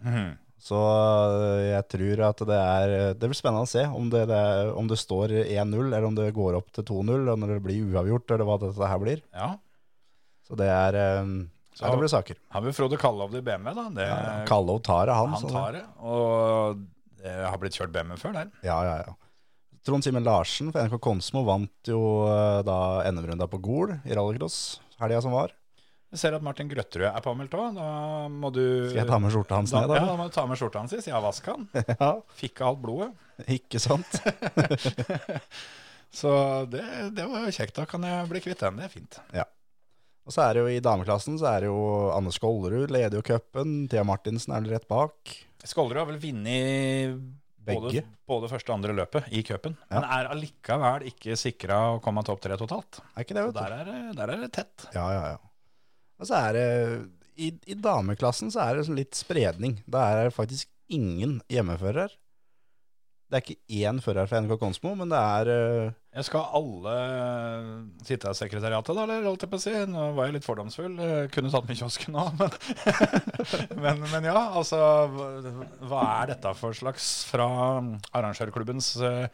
Speaker 3: Mhm.
Speaker 4: Så øh, jeg tror at det er Det blir spennende å se om det, det, er- om det står 1-0, eller om det går opp til 2-0, og når det blir uavgjort, eller hva dette her blir.
Speaker 3: ja.
Speaker 4: Så det er øh,
Speaker 3: Så-
Speaker 4: ja, Det blir saker.
Speaker 3: Har vi Frode Kallovd i BMW, da? Det,
Speaker 4: Kallov tar det, han.
Speaker 3: han
Speaker 4: så det-
Speaker 3: tar det, og det har blitt kjørt BMW før der.
Speaker 4: Ja, ja, ja. Trond Simen Larsen fra NRK Konsmo vant jo eh, da NM-runda på Gol i rallycross helga som var.
Speaker 3: Jeg ser at Martin Grøtterud er påmeldt òg. Da må du
Speaker 4: Skal jeg ta med skjorta hans
Speaker 3: da,
Speaker 4: ned,
Speaker 3: ja,
Speaker 4: da?
Speaker 3: da må du ta med skjorta hans. Jeg har vaska den.
Speaker 4: Ja,
Speaker 3: Fikk av alt blodet.
Speaker 4: ikke sant?
Speaker 3: Så det, det var jo kjekt. Da kan jeg bli kvitt den. Det er fint.
Speaker 4: Ja. Og så er det jo i dameklassen så er det jo Anne Skålerud leder jo cupen. Thea Martinsen er vel rett bak.
Speaker 3: Skålerud har vel vunnet både,
Speaker 4: Begge.
Speaker 3: både første og andre løpet i cupen, men er allikevel ikke sikra å komme topp tre totalt.
Speaker 4: Er ikke det,
Speaker 3: Så
Speaker 4: vet du?
Speaker 3: der er, det- der er det tett.
Speaker 4: Ja, ja, ja. Og så er det I, i dameklassen så er det sånn litt spredning. Da er det faktisk ingen hjemmefører. Det er ikke én fører fra NK Konsmo, men det er eh,
Speaker 3: Jeg skal alle sitte i sekretariatet, da, eller holdt jeg på å si. Nå var jeg litt fordomsfull. eh, Kunne tatt med kiosken nå, men, men Men ja, altså hva- Hva er dette for slags fra arrangørklubbens eh,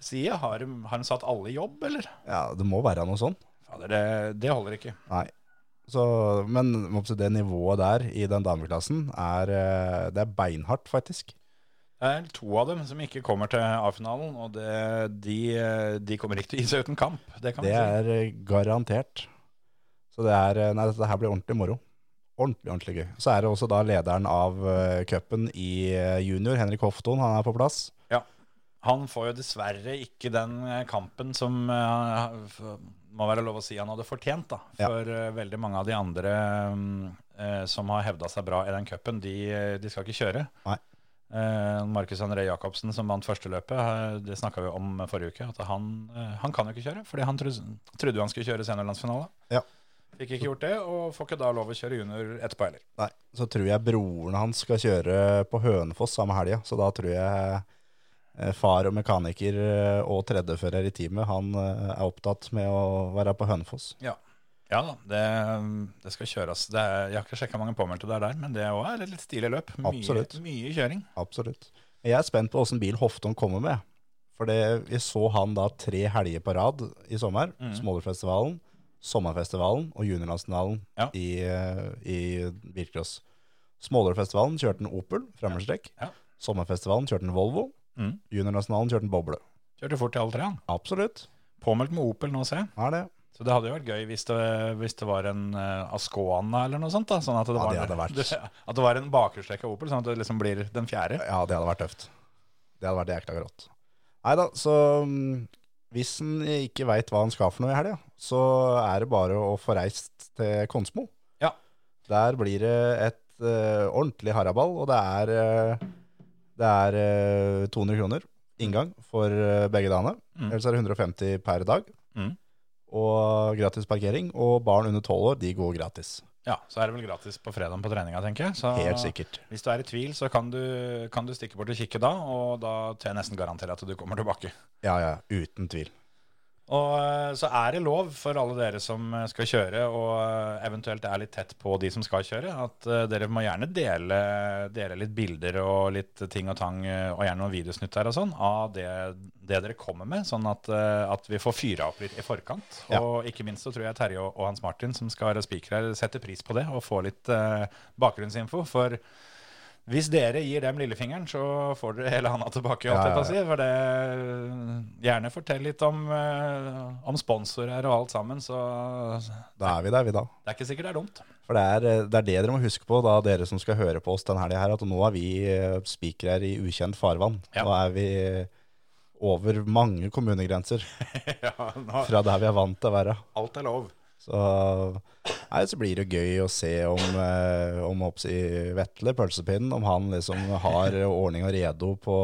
Speaker 3: side? Har de, har de satt alle i jobb, eller?
Speaker 4: Ja, det må være noe sånn.
Speaker 3: Fader, det, det holder ikke.
Speaker 4: Nei. Så, men må jeg si, det nivået der i den dameklassen er, eh, det er beinhardt, faktisk.
Speaker 3: Det er to av dem som ikke kommer til A-finalen, og det, de, eh, de kommer ikke til å gi seg uten kamp. Det kan
Speaker 4: Det
Speaker 3: man si.
Speaker 4: er eh, garantert. Så det er eh, Nei, dette her blir ordentlig moro. Ordentlig, ordentlig gøy. Så er det også da lederen av eh, cupen i eh, junior, Henrik Hofton, han er på plass.
Speaker 3: Ja. Han får jo dessverre ikke den eh, kampen som eh, f- må være lov å si han hadde fortjent. da.
Speaker 4: Ja.
Speaker 3: For eh, veldig mange av de andre mm, eh, som har hevda seg bra i den cupen, de, eh, de skal ikke kjøre.
Speaker 4: Nei.
Speaker 3: Eh, Markus André Jacobsen, som vant første løpet, eh, det snakka vi om forrige uke. At han, eh, han kan jo ikke kjøre, fordi han trus- trodde jo han skulle kjøre seniorlandsfinale.
Speaker 4: Ja.
Speaker 3: Fikk ikke gjort det, og får ikke da lov å kjøre junior etterpå heller.
Speaker 4: Nei, så tror jeg broren hans skal kjøre på Hønefoss samme helga, så da tror jeg eh, far og mekaniker eh, og tredjefører i teamet, han eh, er opptatt med å være på Hønefoss.
Speaker 3: Ja, ja da, det, det skal kjøres. Det er, jeg har ikke sjekka mange påmeldte det er der, men det òg er et litt stilig løp. Mye,
Speaker 4: Absolutt.
Speaker 3: mye kjøring.
Speaker 4: Absolutt. Men Jeg er spent på åssen bil Hofton kommer med. For det, vi så han da tre helger på rad i sommer.
Speaker 3: Mm.
Speaker 4: Smålerfestivalen, Sommerfestivalen og Juniorlandsfinalen
Speaker 3: Ja.
Speaker 4: i, eh, i bilcross. Smålerfestivalen kjørte en Opel, fremmedstrekk.
Speaker 3: Ja.
Speaker 4: Sommerfestivalen kjørte en Volvo.
Speaker 3: Mm.
Speaker 4: Juniorlandsfinalen kjørte en boble.
Speaker 3: Kjørte fort i alle tre. han.
Speaker 4: Absolutt.
Speaker 3: Påmeldt med Opel nå, ser jeg.
Speaker 4: Er det.
Speaker 3: Så det hadde jo vært gøy hvis det, hvis det var en eh, Ascona eller noe sånt. da, sånn At det,
Speaker 4: Ja,
Speaker 3: var,
Speaker 4: det hadde vært-
Speaker 3: at det var en bakhjulstrekk av Opel, sånn at det liksom blir den fjerde.
Speaker 4: Ja, det hadde vært tøft. Det hadde vært jækla grått. Nei da, så mm, hvis en ikke veit hva en skal for noe i helga, så er det bare å få reist til Konsmo.
Speaker 3: Ja.
Speaker 4: Der blir det et eh, ordentlig haraball, og det er, eh, det er eh, 200 kroner inngang for eh, begge dagene.
Speaker 3: Mm.
Speaker 4: Ellers er det 150 per dag.
Speaker 3: Mm.
Speaker 4: Og gratis parkering. Og barn under 12 år, de går gratis.
Speaker 3: Ja, Så er det vel gratis på fredagen på treninga, tenker jeg. Så
Speaker 4: Helt sikkert.
Speaker 3: hvis du er i tvil, så kan du, kan du stikke bort og kikke da, og da tør jeg nesten garantere at du kommer tilbake.
Speaker 4: Ja, ja, uten tvil.
Speaker 3: Og eh, så er det lov for alle dere som eh, skal kjøre, og eh, eventuelt er litt tett på de som skal kjøre, at eh, dere må gjerne dele, dele litt bilder og litt ting og tang, eh, og gjerne noen videosnutt der og sånn, av det, det dere kommer med, sånn at, eh, at vi får fyra opp litt i forkant.
Speaker 4: Ja.
Speaker 3: Og ikke minst så tror jeg Terje og, og Hans Martin, som skal være spikere her, setter pris på det, og får litt eh, bakgrunnsinfo. for... Hvis dere gir dem lillefingeren, så får dere hele handa tilbake. holdt jeg på å si, for det, eh, Gjerne fortell litt om, eh, om sponsorer og alt sammen, så det
Speaker 4: Da er vi der, vi da.
Speaker 3: er ikke sikkert det er dumt.
Speaker 4: For det er, eh, det er det dere må huske på, da dere som skal høre på oss den helga her, at nå er vi eh, spikere her i ukjent farvann.
Speaker 3: Ja.
Speaker 4: Nå er vi over mange kommunegrenser
Speaker 3: ja, nå,
Speaker 4: fra der vi er vant til å være.
Speaker 3: alt er lov.
Speaker 4: Så, nei, så blir det jo gøy å se om, eh, om håper jeg, Vetle, pølsepinnen, om han liksom har ordning og redo på,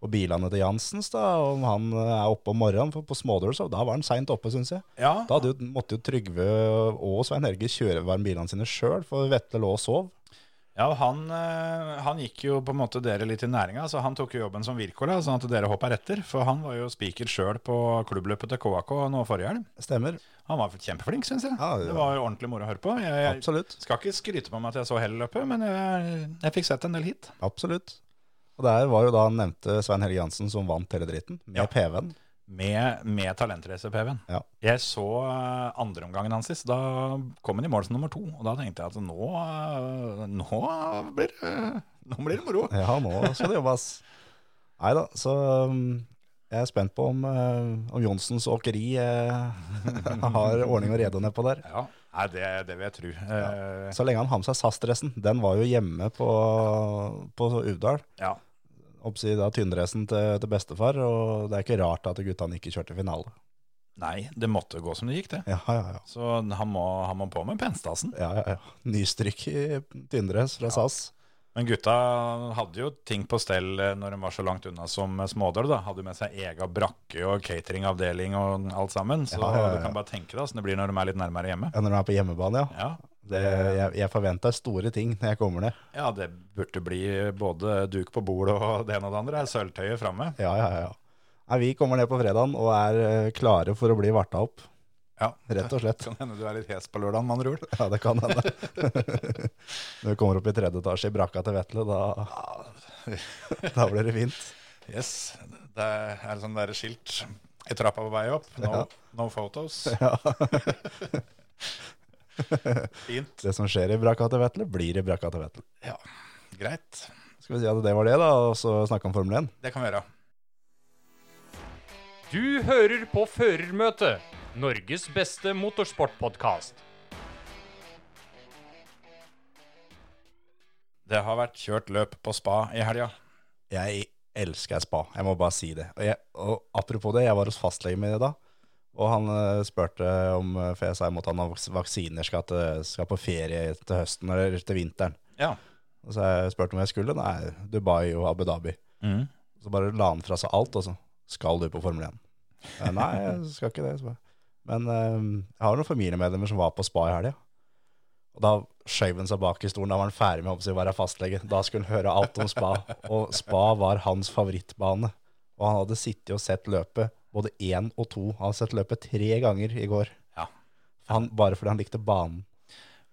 Speaker 4: på bilene til Jansens, da. Om han eh, er oppe om morgenen, for på Smådøl, så da var han seint oppe, syns jeg.
Speaker 3: Ja,
Speaker 4: Da hadde jo, måtte jo Trygve og Svein Helge kjøre varme bilene sine sjøl, for Vetle lå og sov.
Speaker 3: ja han, eh, han gikk jo på en måte dere litt i næringa, så han tok jo jobben som Wirkola, sånn at dere hopper etter. For han var jo spiker sjøl på klubbløpet til KAK nå forrige helg.
Speaker 4: Stemmer.
Speaker 3: Han var kjempeflink, syns jeg.
Speaker 4: Ja, ja.
Speaker 3: det var jo ordentlig moro å høre på. Jeg, jeg
Speaker 4: Absolutt.
Speaker 3: skal ikke skryte på meg at jeg så hele løpet, men jeg, jeg fikk sett en del hit.
Speaker 4: Absolutt. Og der var jo da han nevnte Svein Helge Jansen som vant hele dritten, med
Speaker 3: Ja.
Speaker 4: PV-en.
Speaker 3: med, med talentrace-PV-en.
Speaker 4: Ja.
Speaker 3: Jeg så eh, andreomgangen hans sist. Da kom han i mål som nummer to. Og da tenkte jeg at nå, eh, nå, blir, det- nå blir det moro.
Speaker 4: Ja, nå skal det jobbes. Nei da, så um, jeg er spent på om, eh, om Johnsens åkeri eh, har ordning og rede nedpå der.
Speaker 3: Ja, Nei, det, det vil jeg tro. Eh,
Speaker 4: Så lenge han har med seg SAS-dressen. Den var jo hjemme på, på Uvdal.
Speaker 3: ja.
Speaker 4: Oppsi da tynndressen til, til bestefar, og det er ikke rart at guttene ikke kjørte finale.
Speaker 3: Nei, det måtte gå som det gikk, det.
Speaker 4: Ja, ja, ja.
Speaker 3: Så han må, han må på med penstasen.
Speaker 4: ja, ja, ja. Nystrykk i Tynndress fra SAS.
Speaker 3: Men gutta hadde jo ting på stell eh, når de var så langt unna som eh, smådøl. da. Hadde jo med seg egen brakke og cateringavdeling og alt sammen. Så
Speaker 4: Ja, ja, ja.
Speaker 3: du kan bare tenke deg åssen det blir når de er litt nærmere hjemme.
Speaker 4: Ja, når de er på hjemmebane, ja.
Speaker 3: Ja,
Speaker 4: Det, jeg jeg forventa store ting når jeg kommer ned.
Speaker 3: ja det burde bli både duk på bordet og det ene og det andre. Sølvtøyet framme.
Speaker 4: Ja, ja, ja. Nei, vi kommer ned på fredagen og er eh, klare for å bli varta opp,
Speaker 3: Ja.
Speaker 4: rett og slett.
Speaker 3: Kan hende du er litt hes på lørdagen, med andre ord.
Speaker 4: Ja, det kan hende. Når vi kommer opp i tredje etasje i brakka til Vetle, da, da blir det fint.
Speaker 3: Yes. Det er sånn der skilt i trappa på vei opp. No,
Speaker 4: Ja.
Speaker 3: no photos.
Speaker 4: Ja.
Speaker 3: Fint.
Speaker 4: Det som skjer i brakka til Vetle, blir i brakka til Vetle.
Speaker 3: Ja, greit.
Speaker 4: Skal vi si at det var det, da, og så snakke om Formel 1?
Speaker 3: Det kan vi gjøre.
Speaker 5: Du hører på Førermøtet, Norges beste motorsportpodkast.
Speaker 3: Det har vært kjørt løp på spa i helga.
Speaker 4: Jeg elsker spa, jeg må bare si det. Og, jeg, og apropos det, jeg var hos fastlegen min i dag, og han eh, spurte om eh, For jeg sa jeg måtte ha noen vaks- vaksiner, skal, til, skal på ferie til høsten eller til vinteren.
Speaker 3: Ja.
Speaker 4: Og så jeg spurte om jeg skulle. Nei, Dubai og Abu Dhabi.
Speaker 3: Mm.
Speaker 4: Så bare la han fra seg alt, og så Skal du på Formel 1? Eh, Nei, jeg skal ikke det. Så bare. Men eh, jeg har noen familiemedlemmer som var på spa i helga. Og da skjøv han seg bak i stolen. Da var han ferdig med å oppsi å være fastlege. Da skulle han høre alt om spa. Og spa var hans favorittbane. Og han hadde sittet og sett løpet både én og to. Han hadde sett løpet tre ganger i går.
Speaker 3: Ja.
Speaker 4: Han, bare fordi han likte banen.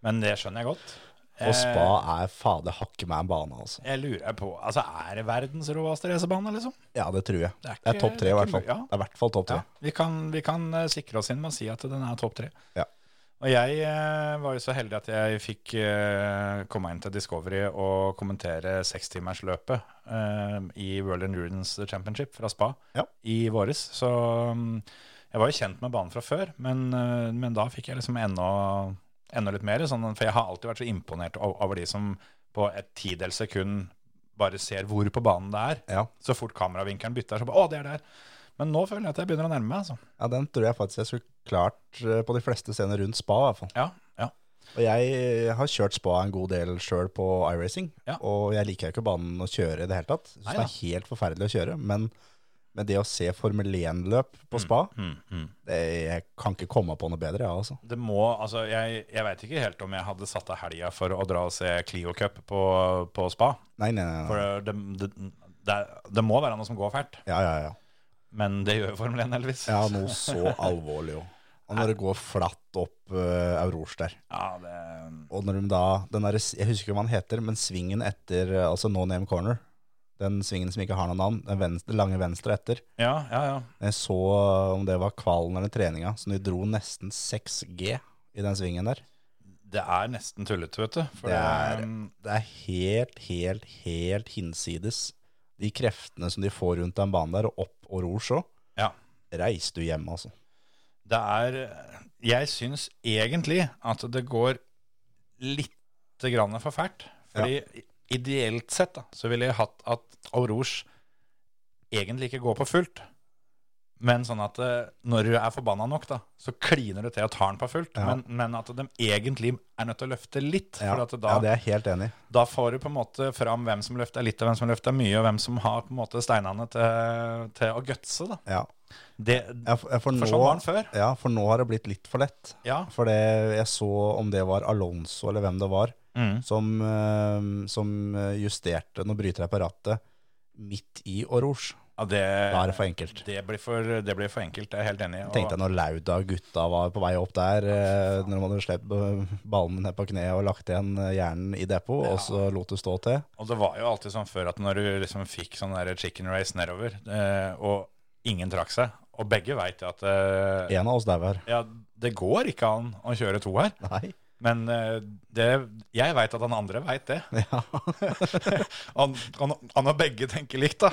Speaker 3: Men det skjønner jeg godt. Eh,
Speaker 4: Og spa er fader hakke meg en bane, altså.
Speaker 3: Jeg lurer på Altså, er det verdens råeste racerbane, liksom?
Speaker 4: Ja, det tror jeg.
Speaker 3: Det er
Speaker 4: Det er,
Speaker 3: ikke-
Speaker 4: topp tre, i
Speaker 3: det er
Speaker 4: hvert
Speaker 3: ikke
Speaker 4: fall.
Speaker 3: mye, ja.
Speaker 4: Det er i hvert fall topp tre.
Speaker 3: Ja. Vi kan, vi kan eh, sikre oss inn med å si at den er topp tre.
Speaker 4: Ja.
Speaker 3: Og jeg eh, var jo så heldig at jeg fikk eh, komme inn til Discovery og kommentere sekstimersløpet eh, i World Endurance Championship fra Spa
Speaker 4: Ja.
Speaker 3: i våres. Så mm, jeg var jo kjent med banen fra før, men, eh, men da fikk jeg liksom enda, enda litt mer. Sånn, for jeg har alltid vært så imponert o- over de som på et tidels sekund bare ser hvor på banen det er.
Speaker 4: Ja.
Speaker 3: Så fort kameravinkelen bytter, så bare Å, det er der! Men nå føler jeg at jeg begynner å nærme meg, altså.
Speaker 4: Ja, den tror jeg faktisk jeg skulle klart eh, på de fleste scener rundt spa, i hvert fall.
Speaker 3: Ja, ja.
Speaker 4: Og jeg har kjørt spa en god del sjøl på iRacing,
Speaker 3: Ja.
Speaker 4: og jeg liker jo ikke banen å kjøre i det hele tatt. Jeg
Speaker 3: Nei
Speaker 4: synes det er helt forferdelig å kjøre, men, men det å se Formel 1-løp
Speaker 3: Mm,
Speaker 4: på spa, Det, jeg kan ikke komme på noe bedre, jeg, altså.
Speaker 3: Det må, altså Jeg, jeg veit ikke helt om jeg hadde satt av helga for å dra og se Clio Cup på, på spa.
Speaker 4: Nei, nei, nei. nei.
Speaker 3: For det, det, det, er- det må være noe som går fælt,
Speaker 4: Ja, ja, ja.
Speaker 3: men det gjør jo Formel 1 heldigvis.
Speaker 4: Ja, noe så alvorlig jo. Og når det går flatt opp uh, Aurors der,
Speaker 3: Ja, det,
Speaker 4: og når de da, den der, jeg husker ikke hva den heter, men svingen etter, eh, altså No Name Corner, den svingen som ikke har noe navn, den venstre, lange venstre etter,
Speaker 3: ja, ja, ja.
Speaker 4: Jeg så eh, om det var kvalen eller treninga, så de dro nesten 6G i den svingen der.
Speaker 3: Det er nesten tullete, vet du. For
Speaker 4: Det er,
Speaker 3: um,
Speaker 4: det er helt, helt, helt hinsides. De kreftene som de får rundt den banen der, og opp og ror så,
Speaker 3: ja.
Speaker 4: reis du hjem, altså.
Speaker 3: Det er Jeg syns egentlig at det går litt grann for fælt. Fordi ideelt sett da, så ville jeg hatt at Aurors egentlig ikke går på fullt. Men sånn at eh, når du er forbanna nok, da, så kliner du til og tar den på fullt.
Speaker 4: Ja.
Speaker 3: Men, men at de egentlig er nødt til å løfte litt.
Speaker 4: Ja,
Speaker 3: For at da,
Speaker 4: ja, det er jeg helt enig i.
Speaker 3: da får du på en måte fram hvem som løfter litt, og hvem som løfter mye, og hvem som har på en måte steinene til, til å gutse. Da.
Speaker 4: Ja.
Speaker 3: Det,
Speaker 4: Ja, for, ja, for, nå,
Speaker 3: for sånn var den før.
Speaker 4: ja, for nå har det blitt litt for lett.
Speaker 3: Ja.
Speaker 4: For det, jeg så om det var Alonso eller hvem det var,
Speaker 3: Mm.
Speaker 4: som, eh, som justerte Nå bryter jeg på rattet midt i Aurors.
Speaker 3: Ja, det,
Speaker 4: Da er det for enkelt.
Speaker 3: Det blir for, det blir for enkelt, jeg er helt enig. i. Og-
Speaker 4: tenkte jeg når Lauda og gutta var på vei opp der, eh, når de hadde sluppet ballen ned på kneet og lagt igjen eh, hjernen i depot, og så lot det stå til.
Speaker 3: Og det var jo alltid sånn før at når du liksom fikk sånn der chicken race nedover, eh, og ingen trakk seg, og begge veit at eh,
Speaker 4: En av oss dauer.
Speaker 3: ja, det går ikke an å kjøre to her.
Speaker 4: Nei.
Speaker 3: Men eh, det, jeg veit at han andre veit det. han, han, han har begge tenker likt, da.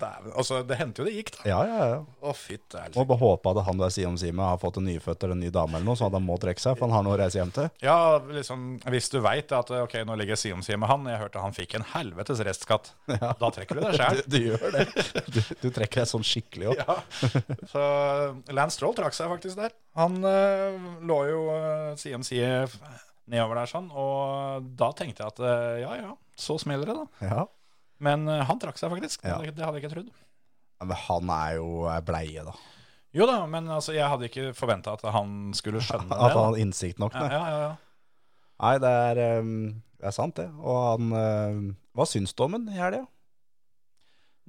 Speaker 3: Dæven, altså, det hendte jo det gikk, da.
Speaker 4: Ja, ja, ja.
Speaker 3: Å, fytt, det er
Speaker 4: Må bare håpe at han der side om side med har fått en nyfødt eller en ny dame eller noe, sånn at han må trekke seg, for han har noe å reise hjem til.
Speaker 3: Ja, liksom, hvis du veit at eh, ok, nå ligger jeg side om side med han, jeg hørte han fikk en helvetes restskatt, da trekker du deg sjæl.
Speaker 4: Du, du gjør det. Du, du trekker deg sånn skikkelig opp.
Speaker 3: Ja. Så Lance Stroll trakk seg faktisk der. Han eh, lå jo eh, side om side nedover der sånn, og da tenkte jeg at eh, ja ja, så smeller det, da.
Speaker 4: Ja.
Speaker 3: Men eh, han trakk seg faktisk.
Speaker 4: Ja.
Speaker 3: Det, det hadde jeg ikke trodd.
Speaker 4: Men han er jo ei bleie, da.
Speaker 3: Jo da, men altså, jeg hadde ikke forventa at han skulle skjønne
Speaker 4: At
Speaker 3: det.
Speaker 4: han
Speaker 3: Da.
Speaker 4: har innsikt nok.
Speaker 3: Mm. Ja,
Speaker 4: Nei,
Speaker 3: ja, ja, ja.
Speaker 4: nei det, er, ehm, det er sant, det. Og han ehm, Hva syns du om ham i helga?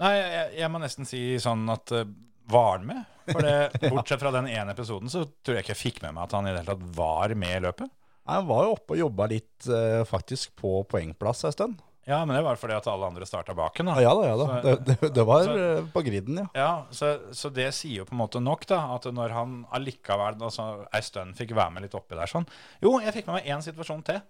Speaker 3: Nei, jeg, jeg må nesten si sånn at eh, var han med? For det, bortsett fra den ene episoden, så tror jeg ikke jeg fikk med meg at han i det hele tatt var med i løpet.
Speaker 4: Nei, Han var jo oppe og jobba litt eh, faktisk på poengplass en stund.
Speaker 3: Ja, men det var fordi at alle andre starta bak henne.
Speaker 4: Ja da, ja da. Det,
Speaker 3: Ah, Så-
Speaker 4: det, det var
Speaker 3: så-
Speaker 4: eh, på griden, ja.
Speaker 3: Ja, så, så det sier jo på en måte nok, da. At når han allikevel altså, ei stund fikk være med litt oppi der sånn Jo, jeg fikk med meg én situasjon til.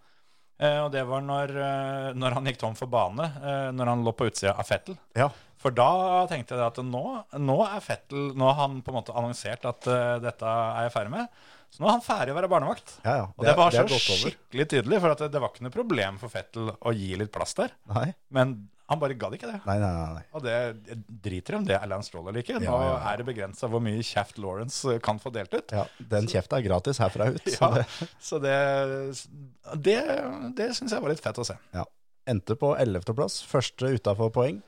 Speaker 3: Eh, og det var når, eh, når han gikk tom for bane. Eh, når han lå på utsida av Fettel.
Speaker 4: Ja,
Speaker 3: For da tenkte jeg at nå, nå er Fettel Nå har han på en måte annonsert at eh, dette er jeg ferdig med. Så nå er han ferdig å være barnevakt.
Speaker 4: ja. ja.
Speaker 3: Og det, var
Speaker 4: er
Speaker 3: så
Speaker 4: gått over.
Speaker 3: skikkelig tydelig, for at det, det var ikke noe problem for Fettel å gi litt plass der.
Speaker 4: Nei,
Speaker 3: Men han bare gadd ikke det.
Speaker 4: nei, nei. nei, nei.
Speaker 3: Og det jeg driter i om det er Lance Stroll eller ikke. Nå
Speaker 4: Ja, ja, ja.
Speaker 3: er det begrensa hvor mye kjeft Lawrence eh, kan få delt ut.
Speaker 4: Ja, den kjefta er gratis herfra ut. Så
Speaker 3: Ja,
Speaker 4: det,
Speaker 3: så det, det, det syns jeg var litt fett å se.
Speaker 4: ja. Endte på 11.-plass, første utafor poeng.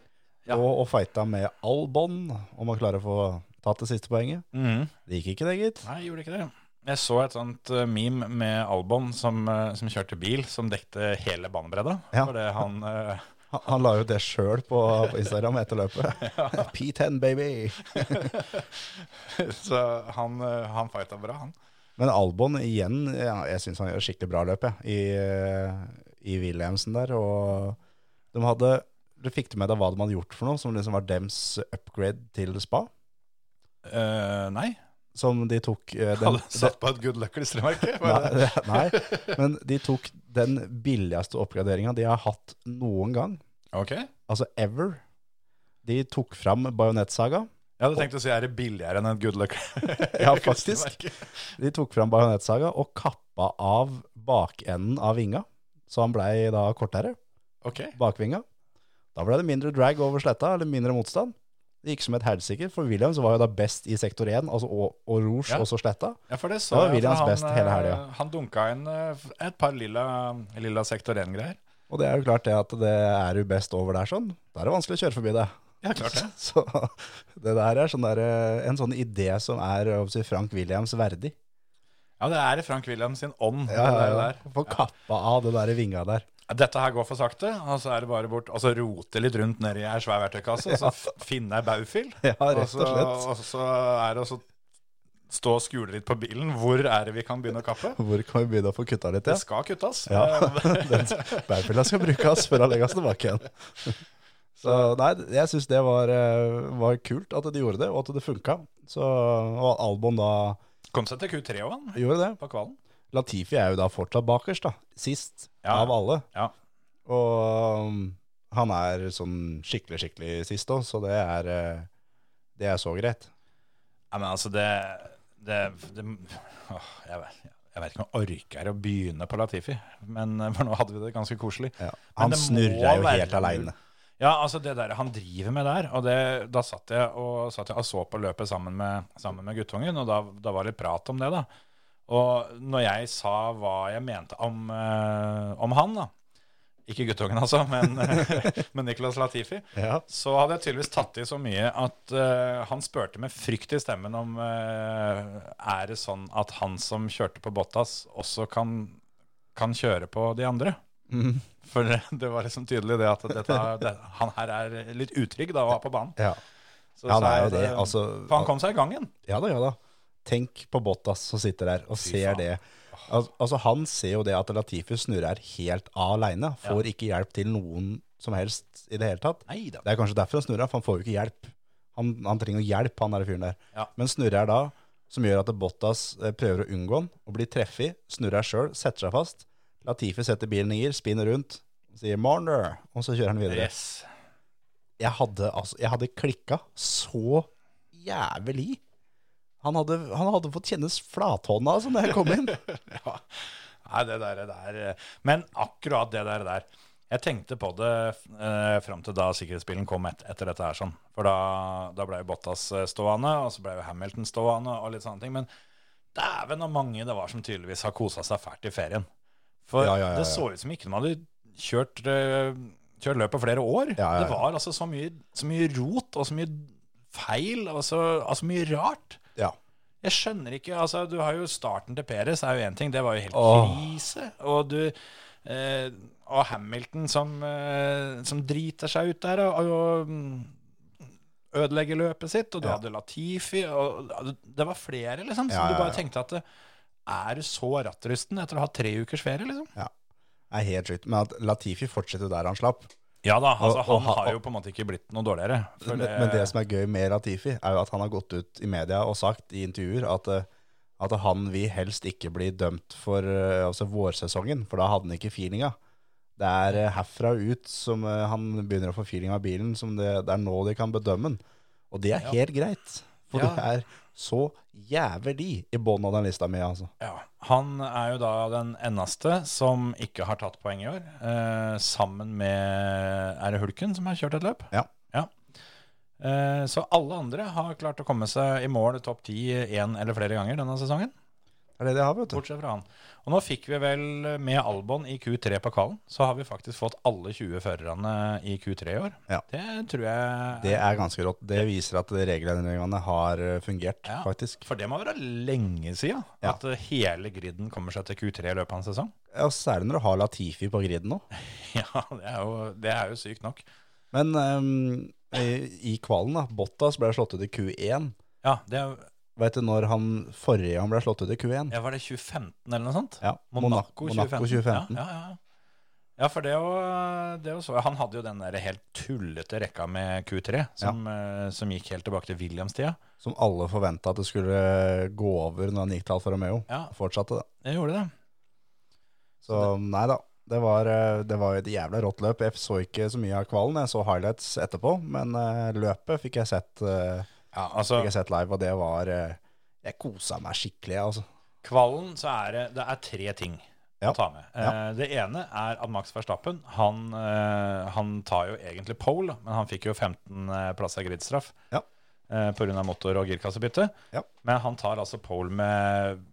Speaker 3: Ja.
Speaker 4: Og, og fighta med all bånd om å klare å få tatt det siste poenget. Det gikk ikke, det, gitt.
Speaker 3: Nei, jeg gjorde ikke det. Jeg så et sånt eh, meme med Albon som, eh, som kjørte bil, som dekte hele banebredda.
Speaker 4: Ja.
Speaker 3: Fordi han eh,
Speaker 4: Han, han la jo det sjøl på, på Instagram etter løpet. P10, baby!
Speaker 3: Så han, eh, han fighta bra, han.
Speaker 4: Men Albon igjen, ja, jeg syns han gjør skikkelig bra løp, jeg, i, i Williamsen der. Og de hadde Du fikk det med deg hva de hadde gjort for noe, som liksom var dems upgrade til spa?
Speaker 3: Eh, nei.
Speaker 4: Som de tok eh, den,
Speaker 3: Hadde satt på et good luck-klistremerke. var det det?
Speaker 4: Nei, nei, men de tok den billigste oppgraderinga de har hatt noen gang,
Speaker 3: Ok.
Speaker 4: altså ever. De tok fram Bajonettsaga.
Speaker 3: Jeg hadde tenkt å si er det billigere enn et good luck.
Speaker 4: Ja, faktisk. De tok fram Bajonettsaga og kappa av bakenden av vinga, så han blei da kortere.
Speaker 3: Ok.
Speaker 4: Bakvinga. Da blei det mindre drag over sletta, eller mindre motstand. Det gikk som et helsike, for Williams var jo da best i sektor 1, altså, og, og Rouge,
Speaker 3: Ja.
Speaker 4: og så sletta.
Speaker 3: Ja, for det så
Speaker 4: Det
Speaker 3: jeg,
Speaker 4: var
Speaker 3: for
Speaker 4: Williams
Speaker 3: han,
Speaker 4: best hele helga.
Speaker 3: eh, Han dunka inn eh, et par lilla, lilla sektor 1-greier.
Speaker 4: Og det er jo klart det at det er jo best over der sånn. Da er det vanskelig å kjøre forbi det.
Speaker 3: Ja, klart det.
Speaker 4: Så det der er sånn der, eh, en sånn idé som er hva skal jeg si, Frank Williams verdig.
Speaker 3: Ja, det er i Frank Williams sin ånd. det der.
Speaker 4: Få kappa av det der i vinga der.
Speaker 3: Dette her går for sakte, og så er det bare bort, og så rote litt rundt nedi ei svær verktøykasse, og så f- finne ei baufil.
Speaker 4: Ja, rett og slett.
Speaker 3: så, og så er det å så stå og skule litt på bilen. Hvor er det vi kan begynne å kappe?
Speaker 4: Hvor kan vi begynne å få kutta litt, ja?
Speaker 3: Det skal kuttes.
Speaker 4: Ja.
Speaker 3: Eh,
Speaker 4: Den bærfilla skal brukes før han legges tilbake igjen. Så nei, jeg syns det var, eh, var kult at de gjorde det, og at det funka. Så, og at Albon da
Speaker 3: Kom seg til Q3 òg, han,
Speaker 4: gjorde det.
Speaker 3: på kvalen.
Speaker 4: Latifi er jo da fortsatt bakerst, da. Sist
Speaker 3: Ja.
Speaker 4: av alle.
Speaker 3: Ja.
Speaker 4: Og um, han er sånn skikkelig, skikkelig sist òg, så det er, eh, det er så greit.
Speaker 3: Nei, men altså, det, det, det åh, jeg, vet- jeg vet ikke om jeg orker å begynne på Latifi, men eh, for nå hadde vi det ganske koselig. Men
Speaker 4: Han
Speaker 3: det må
Speaker 4: snurrer jo helt
Speaker 3: være-
Speaker 4: aleine.
Speaker 3: Ja, altså det der han driver med der, og det, da satt jeg og, satt jeg og så på løpet sammen med, sammen med guttungen, og da, da var det prat om det da. Og når jeg sa hva jeg mente om, eh, om han da, ikke guttungen altså, men, men Niklas Latifi,
Speaker 4: Ja.
Speaker 3: så hadde jeg tydeligvis tatt i så mye at eh, han spurte med frykt i stemmen om eh, er det sånn at han som kjørte på Bottas også kan, kan kjøre på de andre?
Speaker 4: Mm.
Speaker 3: For det, det var liksom tydelig det at dette, er- det, han her er litt utrygg da å ha på banen.
Speaker 4: Ja.
Speaker 3: Så
Speaker 4: Ja, han
Speaker 3: sa
Speaker 4: er
Speaker 3: jeg
Speaker 4: jo
Speaker 3: at,
Speaker 4: det,
Speaker 3: eh,
Speaker 4: altså-
Speaker 3: for han kom seg i gangen.
Speaker 4: ja da, ja da. Tenk på Bottas som sitter der og ser
Speaker 3: faen.
Speaker 4: det. Al altså Han ser jo det at Latifi snurrer helt aleine. Får ikke hjelp til noen som helst i det hele tatt.
Speaker 3: Neida.
Speaker 4: Det er kanskje derfor han snurrer, for han får jo ikke hjelp. Han, han trenger jo hjelp, han der fyren der.
Speaker 3: Ja.
Speaker 4: Men snurrer da, som gjør at Bottas eh, prøver å unngå han og blir treffig, snurrer seg sjøl, setter seg fast. Latifi setter bilen i gir, spinner rundt, sier 'Marner', og så kjører han videre.
Speaker 3: Yes.
Speaker 4: Jeg hadde, altså, jeg hadde klikka så jævlig. Han hadde, han hadde fått kjennes flathånda altså, når jeg kom inn.
Speaker 3: Ja. Nei, det der, det der eh, Men akkurat det der, der. Jeg tenkte på det eh, fram til da sikkerhetsbilen kom et, etter dette her. sånn. For da, da ble jo Bottas eh, stående, og så ble jo Hamilton stående, og litt sånne ting. Men dæven og mange det var som tydeligvis har kosa seg fælt i ferien. For
Speaker 4: Ja, ja, ja,
Speaker 3: det
Speaker 4: ja.
Speaker 3: så ut som ikke de hadde kjørt, eh, kjørt løpet flere år.
Speaker 4: Ja, ja, ja.
Speaker 3: Det var altså så mye, så mye rot og så mye feil og så altså mye rart.
Speaker 4: Ja.
Speaker 3: Jeg skjønner ikke, altså du har jo starten til Peres er jo en ting, det var jo helt
Speaker 4: Åh.
Speaker 3: krise, og du eh, og Hamilton som, eh, som driter seg ut der og, og mm, ødelegger løpet sitt, og du
Speaker 4: Ja.
Speaker 3: hadde Latifi, og det var flere liksom, så
Speaker 4: Ja,
Speaker 3: du
Speaker 4: ja,
Speaker 3: bare
Speaker 4: ja.
Speaker 3: tenkte at er du så rattrusten etter å ha tre ukers ferie liksom?
Speaker 4: Det er helt sjukt. Men at Latifi fortsetter der han slapp.
Speaker 3: Ja da, altså
Speaker 4: Og- og
Speaker 3: han
Speaker 4: ha-
Speaker 3: har jo på en måte ikke blitt noe dårligere. for
Speaker 4: Men, men det som er gøy med Latifi, er jo at han har gått ut i media og sagt i intervjuer at, eh, at han vil helst ikke bli dømt for eh, altså vårsesongen, for da hadde han ikke feelinga. Det er eh, herfra og ut som eh, han begynner å få feeling av bilen, som det, det er nå de kan bedømme den. Og det er
Speaker 3: Ja.
Speaker 4: helt greit, for
Speaker 3: Ja.
Speaker 4: det er så jævlig i bånn av den lista mi, altså.
Speaker 3: Ja, Han er jo da den eneste som ikke har tatt poeng i år, eh, sammen med Er det Hulken som har kjørt et løp?
Speaker 4: Ja.
Speaker 3: Eh, så alle andre har klart å komme seg i mål topp ti én eller flere ganger denne sesongen.
Speaker 4: Det er det de har, vet du.
Speaker 3: Bortsett fra han. Og nå fikk vi vel med Albon i Q3 på kallen, så har vi faktisk fått alle 20 førerne i Q3 i år.
Speaker 4: Ja.
Speaker 3: Det tror jeg
Speaker 4: Det er ganske rått. Det viser at regelendringene har eh, fungert,
Speaker 3: Ja.
Speaker 4: faktisk.
Speaker 3: For det må være lenge siden
Speaker 4: Ja.
Speaker 3: at eh, hele griden kommer seg til Q3 i løpet av en sesong.
Speaker 4: Ja, særlig når du har Latifi på griden nå.
Speaker 3: Ja, det er jo, det er jo sykt nok.
Speaker 4: Men ehm, i, i kvalen, da. Bottas ble slått ut i Q1.
Speaker 3: Ja, det er,
Speaker 4: Vet du når han forrige gang ble slått ut i Q1?
Speaker 3: ja, var det 2015 eller noe sånt?
Speaker 4: Ja,
Speaker 3: Monaco,
Speaker 4: 2015.
Speaker 3: Ja, ja, ja. ja for det er jo- det er jo så Han hadde jo den der helt tullete rekka med Q3, som, eh, som gikk helt tilbake til Williams-tida.
Speaker 4: Som alle forventa at det skulle gå over når han gikk til Alfa Romeo.
Speaker 3: Ja.
Speaker 4: Fortsatte det.
Speaker 3: Det gjorde det.
Speaker 4: Så um, nei da. Det var, eh, det var et jævla rått løp. Jeg så ikke så mye av kvalen. Jeg så highlights etterpå, men eh, løpet fikk jeg sett, eh,
Speaker 3: Ja,
Speaker 4: fikk
Speaker 3: altså,
Speaker 4: jeg sett live, og det var eh, Jeg kosa meg skikkelig, altså.
Speaker 3: kvallen så er det, det er tre ting
Speaker 4: Ja.
Speaker 3: å ta med. Eh, Det ene er at Max Verstappen, han, eh, han tar jo egentlig pole, da, men han fikk jo 15 eh, plasser gridstraff
Speaker 4: Ja.
Speaker 3: eh, på grunn av motor- og girkassebytte.
Speaker 4: Ja.
Speaker 3: Men han tar altså pole med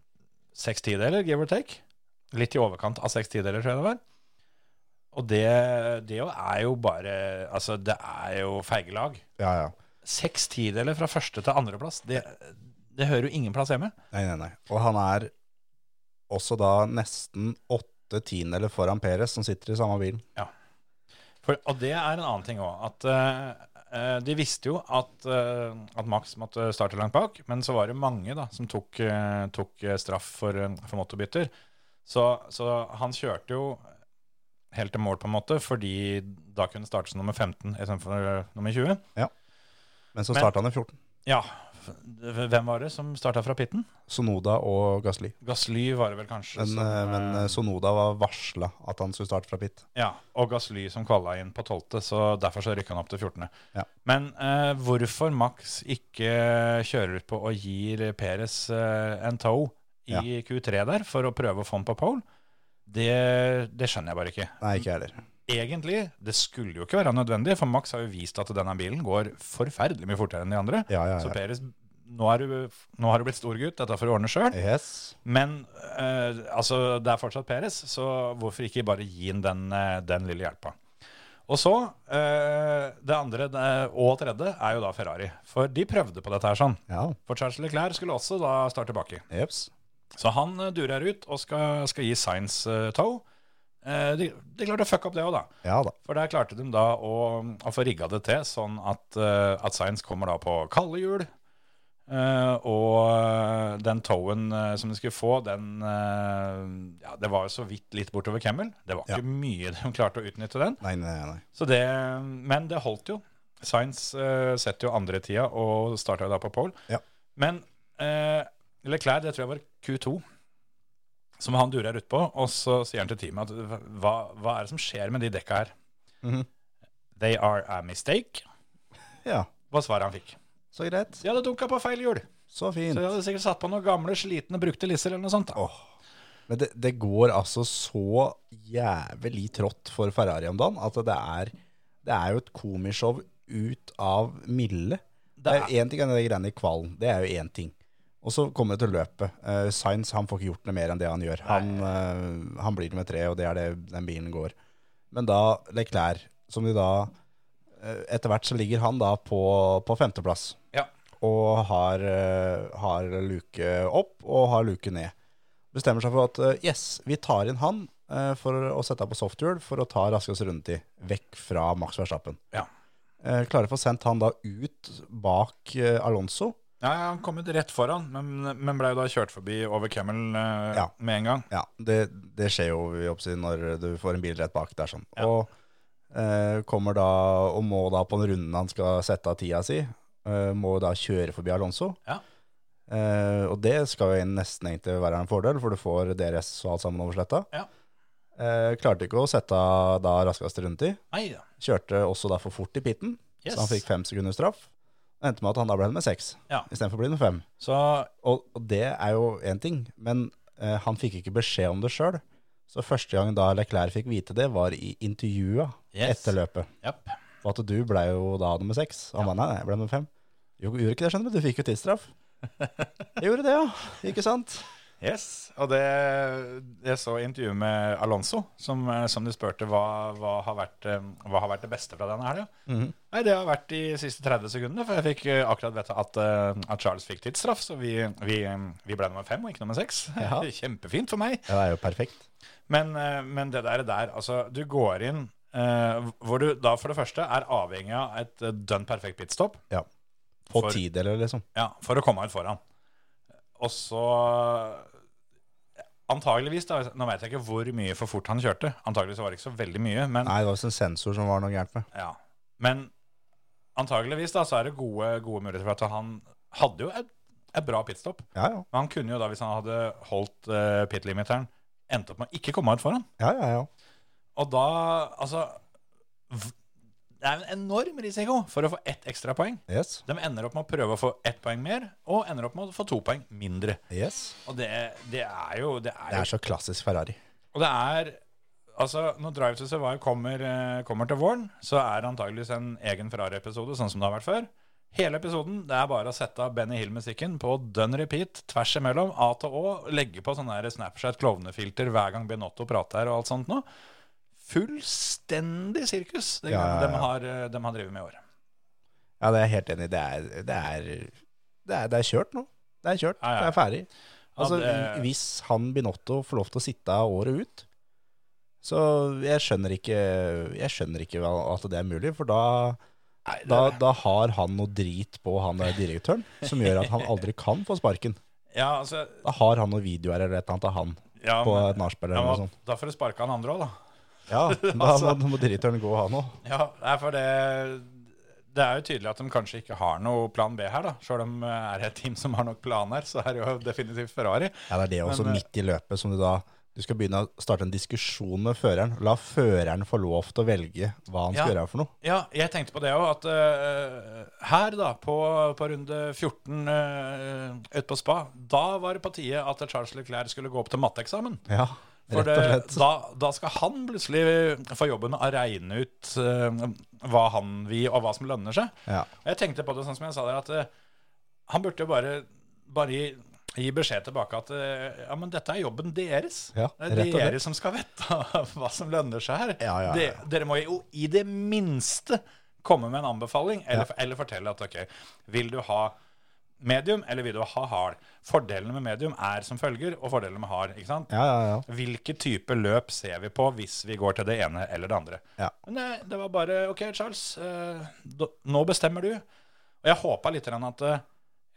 Speaker 3: seks tideler, give or take. Litt i overkant av seks tideler, tror jeg det var. Og det, det jo er jo bare Altså, det er jo feige lag.
Speaker 4: Ja, ja.
Speaker 3: Seks tideler fra første til andreplass, det, det hører jo ingen plass hjemme.
Speaker 4: Nei, nei, nei. Og han er også da nesten åtte tiendeler foran Perez, som sitter i samme bilen.
Speaker 3: For, og det er en annen ting òg. At eh, eh, de visste jo at, eh, at Max måtte starte langt bak, men så var det mange da som tok, eh, tok eh, straff for, eh, for motorbytter. Så, så han kjørte jo helt til mål, på en måte, fordi da kunne det starte som nummer 15 istedenfor eh, nummer 20.
Speaker 4: Men så
Speaker 3: Men-
Speaker 4: starta han i 14.
Speaker 3: Ja, f- hvem var det som starta fra pitten?
Speaker 4: Sonoda og Gasly.
Speaker 3: Gassly var det vel kanskje
Speaker 4: Men,
Speaker 3: som
Speaker 4: eh, men
Speaker 3: eh,
Speaker 4: eh, Sonoda var varsla at han skulle starte fra pit.
Speaker 3: Ja, og Gasly som kvala inn på 12., så derfor så rykka han opp til 14.
Speaker 4: Ja.
Speaker 3: Men eh, hvorfor Max ikke kjører ut på og gir Peres eh, en tow i
Speaker 4: Ja.
Speaker 3: Q3 der for å prøve å få han på pole, det, det skjønner jeg bare ikke.
Speaker 4: Nei, ikke jeg heller.
Speaker 3: Egentlig, det skulle jo ikke være nødvendig, for Max har jo vist at denne bilen går forferdelig mye fortere enn de andre.
Speaker 4: Ja, ja,
Speaker 3: Så
Speaker 4: ja.
Speaker 3: Peres, nå er du, nå har du blitt stor gutt, dette får du ordne sjøl.
Speaker 4: Yes.
Speaker 3: Men eh, altså, det er fortsatt Peres, så hvorfor ikke bare gi ham den, eh, den lille hjelpa? Og så eh, Det andre det- og tredje er jo da Ferrari. For de prøvde på dette her sånn.
Speaker 4: Ja.
Speaker 3: For Charles Leclerc skulle også da starte baki.
Speaker 4: Jeps.
Speaker 3: Så han eh, durer ut og skal, skal gi Science uh, tow. Eh, de, de klarte å fucke opp det òg, da.
Speaker 4: Ja da.
Speaker 3: For der klarte de da å, å få rigga det til sånn at, eh, at Science kommer da på kalde hjul. eh, og den towen eh, som de skulle få, den eh, ja, Det var jo så vidt litt bortover Kemmel. Det var ikke mye de klarte å utnytte den.
Speaker 4: Nei, nei, nei.
Speaker 3: Så det, men det holdt jo. Science eh, setter jo andre tida og starta da på pole.
Speaker 4: Ja.
Speaker 3: Men eh, Leclerc, det tror jeg var Q2, som han durer utpå. Og så sier han til teamet at hva, hva er det som skjer med de dekka her?
Speaker 4: Mhm.
Speaker 3: They are a mistake.
Speaker 4: Ja,
Speaker 3: Hva svaret han fikk?
Speaker 4: så greit.
Speaker 3: De hadde dunka på feil hjul.
Speaker 4: Så
Speaker 3: Så
Speaker 4: fint.
Speaker 3: de hadde sikkert satt på noen gamle, slitne, brukte lisser eller noe sånt. da.
Speaker 4: Men det, det går altså så jævlig trått for Ferrari om dagen at det er, det er jo et komishow ut av milde. Det er én ting er de greiene i kvalen, det er jo én ting. Og så kommer det til løpet. Uh, Sainz han får ikke gjort noe mer enn det han gjør. Han, eh, han blir nummer tre, og det er det den bilen går. Men da Leclerc, som de da eh, Etter hvert så ligger han da på, på femteplass
Speaker 3: Ja.
Speaker 4: og har, eh, har luke opp og har luke ned. Bestemmer seg for at eh, yes, vi tar inn han eh, for å sette av på softhjul for å ta raskest rundetid vekk fra Max Verstappen.
Speaker 3: Ja.
Speaker 4: Eh, Klarer å få sendt han da ut bak eh, Alonso.
Speaker 3: Ja, ja, han kom ut rett foran, men, men ble jo da kjørt forbi over Camel eh,
Speaker 4: Ja.
Speaker 3: med en gang.
Speaker 4: Ja, det, det skjer jo i oppsiden når du får en bil rett bak der sånn. Og eh, kommer da, og må da på den runden han skal sette av tida si, eh, må da kjøre forbi Alonso.
Speaker 3: Ja.
Speaker 4: Eh, og det skal jo nesten egentlig være en fordel, for du får DRS og alt sammen over sletta.
Speaker 3: Ja.
Speaker 4: Eh, klarte ikke å sette av da raskeste rundetid.
Speaker 3: Nei da.
Speaker 4: Kjørte også da for fort i pitten,
Speaker 3: Yes.
Speaker 4: så han fikk fem sekunder straff. Endte med at han da ble nummer seks,
Speaker 3: Ja.
Speaker 4: istedenfor å bli nummer fem.
Speaker 3: Så
Speaker 4: Og, og det er jo én ting, men eh, han fikk ikke beskjed om det sjøl. Så første gang da Leclerc fikk vite det, var i intervjua
Speaker 3: Yes.
Speaker 4: etter løpet.
Speaker 3: japp.
Speaker 4: Og at du ble jo da nummer seks. Og han ba, nei, nei, jeg ble nummer fem. Jo, gjorde ikke det, skjønner du. Du fikk jo tidsstraff. Jeg gjorde det, ja. Ikke sant?
Speaker 3: Yes, og det Jeg så intervjuet med Alonso, som, eh, som de spurte hva, hva, har vært, eh, hva har vært det beste fra denne helga. Nei, det har vært de siste 30 sekundene, for jeg fikk eh, akkurat vite at, eh, at Charles fikk tidsstraff, så vi, vi, eh, vi ble nummer fem og ikke nummer seks.
Speaker 4: Ja.
Speaker 3: Kjempefint for meg.
Speaker 4: Ja, det er jo perfekt.
Speaker 3: Men, eh, men det der, der altså, du går inn eh, hvor du da for det første er avhengig av et eh, dønn perfekt pitstop
Speaker 4: Ja. På
Speaker 3: For-
Speaker 4: tideler, liksom.
Speaker 3: ja, for å komme ut foran. Og så Antageligvis, da, nå vet jeg ikke hvor mye for fort han kjørte. Antageligvis var det ikke så veldig mye, men,
Speaker 4: Nei, det var visst en sensor som var noe gærent med.
Speaker 3: ja. men antageligvis da, så er det gode, gode muligheter for at han hadde jo et, et bra pitstop.
Speaker 4: Ja, ja.
Speaker 3: Men han kunne jo da, hvis han hadde holdt uh, pitlimiteren, endt opp med å ikke komme ut foran.
Speaker 4: Ja, ja, ja.
Speaker 3: Og da, altså v- Det er jo en enorm risiko for å få ett ekstra poeng.
Speaker 4: Yes.
Speaker 3: De ender opp med å prøve å få ett poeng mer, og ender opp med å få to poeng mindre.
Speaker 4: yes.
Speaker 3: Og det, det er jo det er,
Speaker 4: Det
Speaker 3: jo-
Speaker 4: er så klassisk Ferrari.
Speaker 3: Og det er Altså, når Drive to Survive kommer, eh, kommer til våren, så er det antageligvis en egen Ferrari-episode, sånn som det har vært før. Hele episoden det er bare å sette av Benny Hill-musikken på dønn repeat tvers imellom A til Å. Legge på sånn der Snapchat klovnefilter hver gang Benotto prater og alt sånt nå. Fullstendig sirkus det
Speaker 4: Ja, ja, ja.
Speaker 3: De, har, eh, de har drevet med i år.
Speaker 4: Ja, det er jeg helt enig i. Det er, det, er, det, er, det er kjørt nå. Det er kjørt.
Speaker 3: Ja, ja.
Speaker 4: Det er ferdig. Altså,
Speaker 3: det-
Speaker 4: Hvis han Binotto får lov til å sitte av året ut, så jeg skjønner ikke, jeg skjønner ikke hva- at det er mulig, for da, da, da har han noe drit på han der direktøren som gjør at han aldri kan få sparken.
Speaker 3: Ja, altså
Speaker 4: Da har han noen videoer eller et eller annet av han
Speaker 3: ja,
Speaker 4: på
Speaker 3: men,
Speaker 4: et nachspiel
Speaker 3: ja,
Speaker 4: eller noe
Speaker 3: men, Altså-
Speaker 4: sånt.
Speaker 3: Da får du sparka han andre òg, da.
Speaker 4: Ja, da må, må direktøren gå, han òg.
Speaker 3: Ja, nei, for det, det er jo tydelig at de kanskje ikke har noe plan B her, da. Selv om det er et team som har nok planer, så er det jo definitivt Ferrari.
Speaker 4: Ja, det er det også
Speaker 3: Men, eh,
Speaker 4: midt i løpet som du da Du skal begynne å starte en diskusjon med føreren. La føreren få lov til å velge hva han skal
Speaker 3: Ja.
Speaker 4: gjøre for noe.
Speaker 3: Ja, jeg tenkte på det òg, at eh, her, da, på, på runde 14 eh, ute på spa, da var det på tide at Charles Leclerc skulle gå opp til matteeksamen.
Speaker 4: Ja,
Speaker 3: For
Speaker 4: rett og
Speaker 3: det,
Speaker 4: slett.
Speaker 3: da, da skal han plutselig få jobben med å regne ut eh, hva han vil, og hva som lønner seg.
Speaker 4: Ja.
Speaker 3: Og Jeg tenkte på det sånn som jeg sa der, at eh, han burde jo bare, bare gi, gi beskjed tilbake at eh, ja, men dette er jobben deres.
Speaker 4: Ja,
Speaker 3: det er
Speaker 4: rett og
Speaker 3: dere
Speaker 4: slett.
Speaker 3: som skal vite hva som lønner seg her.
Speaker 4: Ja, ja, ja.
Speaker 3: Dere, dere må jo i det minste komme med en anbefaling, eller, eller fortelle at ok, vil du ha medium, eller vil du ha hard? Fordelene med medium er som følger, og fordelene med hard, ikke sant?
Speaker 4: Ja, ja, ja.
Speaker 3: Hvilke type løp ser vi på hvis vi går til det ene eller det andre?
Speaker 4: Ja.
Speaker 3: Men det, det var bare OK, Charles, eh, da, nå bestemmer du. Og jeg håpa litt grann at eh,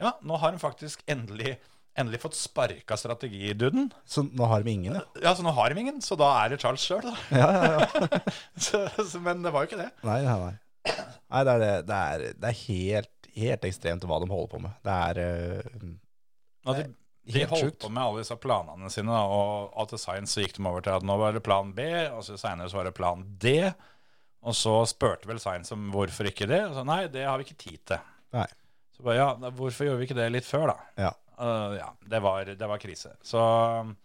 Speaker 3: ja, nå har hun faktisk endelig, endelig fått sparka strategiduden.
Speaker 4: Så nå har vi ingen, ja.
Speaker 3: Ja, så nå har de ingen, så da er det Charles sjøl, da.
Speaker 4: Ja, ja, ja.
Speaker 3: Så, så, men det var jo ikke det.
Speaker 4: Nei, nei, nei. nei det, er, det, det er, det er helt, helt ekstremt hva de holder på med. Det er eh,
Speaker 3: Nå hadde de De
Speaker 4: Helt
Speaker 3: holdt
Speaker 4: sjukt.
Speaker 3: på med alle disse planene sine, da, og etter science så gikk de over til at nå var det plan B, og så senere så var det plan D. Og så spurte vel science om hvorfor ikke det, og så nei, det har vi ikke tid til.
Speaker 4: Nei.
Speaker 3: Så bare ja, da, hvorfor gjorde vi ikke det litt før, da?
Speaker 4: Ja.
Speaker 3: Eh, ja, det var, det var krise. Så um,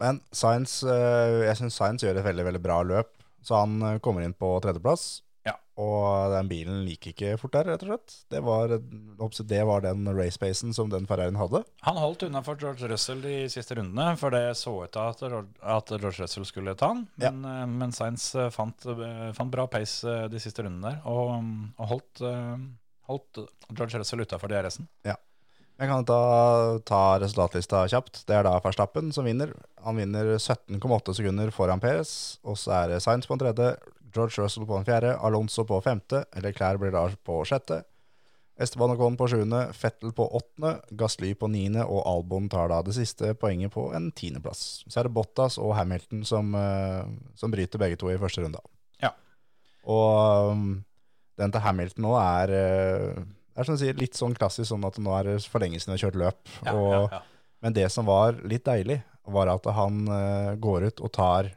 Speaker 4: Men Science, eh, jeg syns Science gjør et veldig veldig bra løp. Så han eh, kommer inn på tredjeplass.
Speaker 3: Ja.
Speaker 4: Og den bilen gikk ikke fort der, rett og slett. Det var, hoppsi, det var den race-pacen som den Ferrarien hadde.
Speaker 3: han holdt unna for George Russell de siste rundene, for det så ut til at, Ro- at George Russell skulle ta han.
Speaker 4: Ja.
Speaker 3: Men, eh, men Sainz eh, fant, eh, fant bra pace eh, de siste rundene der, og, og holdt, eh, holdt George Russell utafor DRS-en.
Speaker 4: Jeg kan ta, ta resultatlista kjapt. Det er da Verstappen som vinner. Han vinner 17,8 sekunder foran Perez. Og så er det Sainz på en tredje, George Russell på en fjerde, Alonso på femte, Leclerc blir da på sjette. Esteban Ocon på sjuende, Fettel på åttende, Gasly på niende, og Albon tar da det siste poenget på en tiendeplass. Så er det Bottas og Hamilton som, eh, som bryter begge to i første runde.
Speaker 3: Ja.
Speaker 4: Og um, den til Hamilton nå er, eh, er som du sier, litt sånn klassisk sånn at nå er det for lenge siden jeg har kjørt løp. og,
Speaker 3: ja.
Speaker 4: Men det som var litt deilig, var at han eh, går ut og tar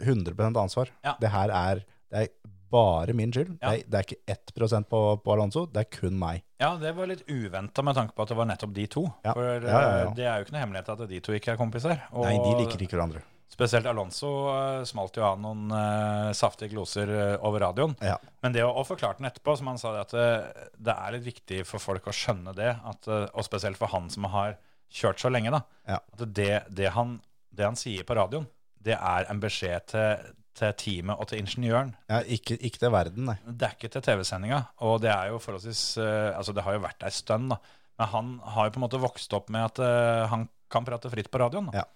Speaker 4: 100 ansvar.
Speaker 3: Ja.
Speaker 4: Det her er, det er bare min skyld.
Speaker 3: Ja.
Speaker 4: Det, er, det er ikke 1 på, på Alonso, det er kun meg.
Speaker 3: Ja, det var litt uventa med tanke på at det var nettopp de to.
Speaker 4: Ja.
Speaker 3: For eh,
Speaker 4: Ja, ja, ja.
Speaker 3: det er jo ikke noe hemmelighet at de to ikke er kompiser. Og
Speaker 4: Nei, de liker ikke hverandre.
Speaker 3: Spesielt Alonso eh, smalt jo av noen eh, saftige gloser eh, over radioen.
Speaker 4: Ja.
Speaker 3: Men det å, å forklare den etterpå, som han sa, det at det, det er litt viktig for folk å skjønne det, at, eh, og spesielt for han som har kjørt så lenge, da,
Speaker 4: Ja.
Speaker 3: at det, det, han, det han sier på radioen, det er en beskjed til, til teamet og til ingeniøren.
Speaker 4: Ja, ikke, ikke til verden, nei.
Speaker 3: Det er ikke til TV-sendinga, og det er jo forholdsvis eh, Altså, det har jo vært ei stund, da. Men han har jo på en måte vokst opp med at eh, han kan prate fritt på radioen. Da.
Speaker 4: Ja.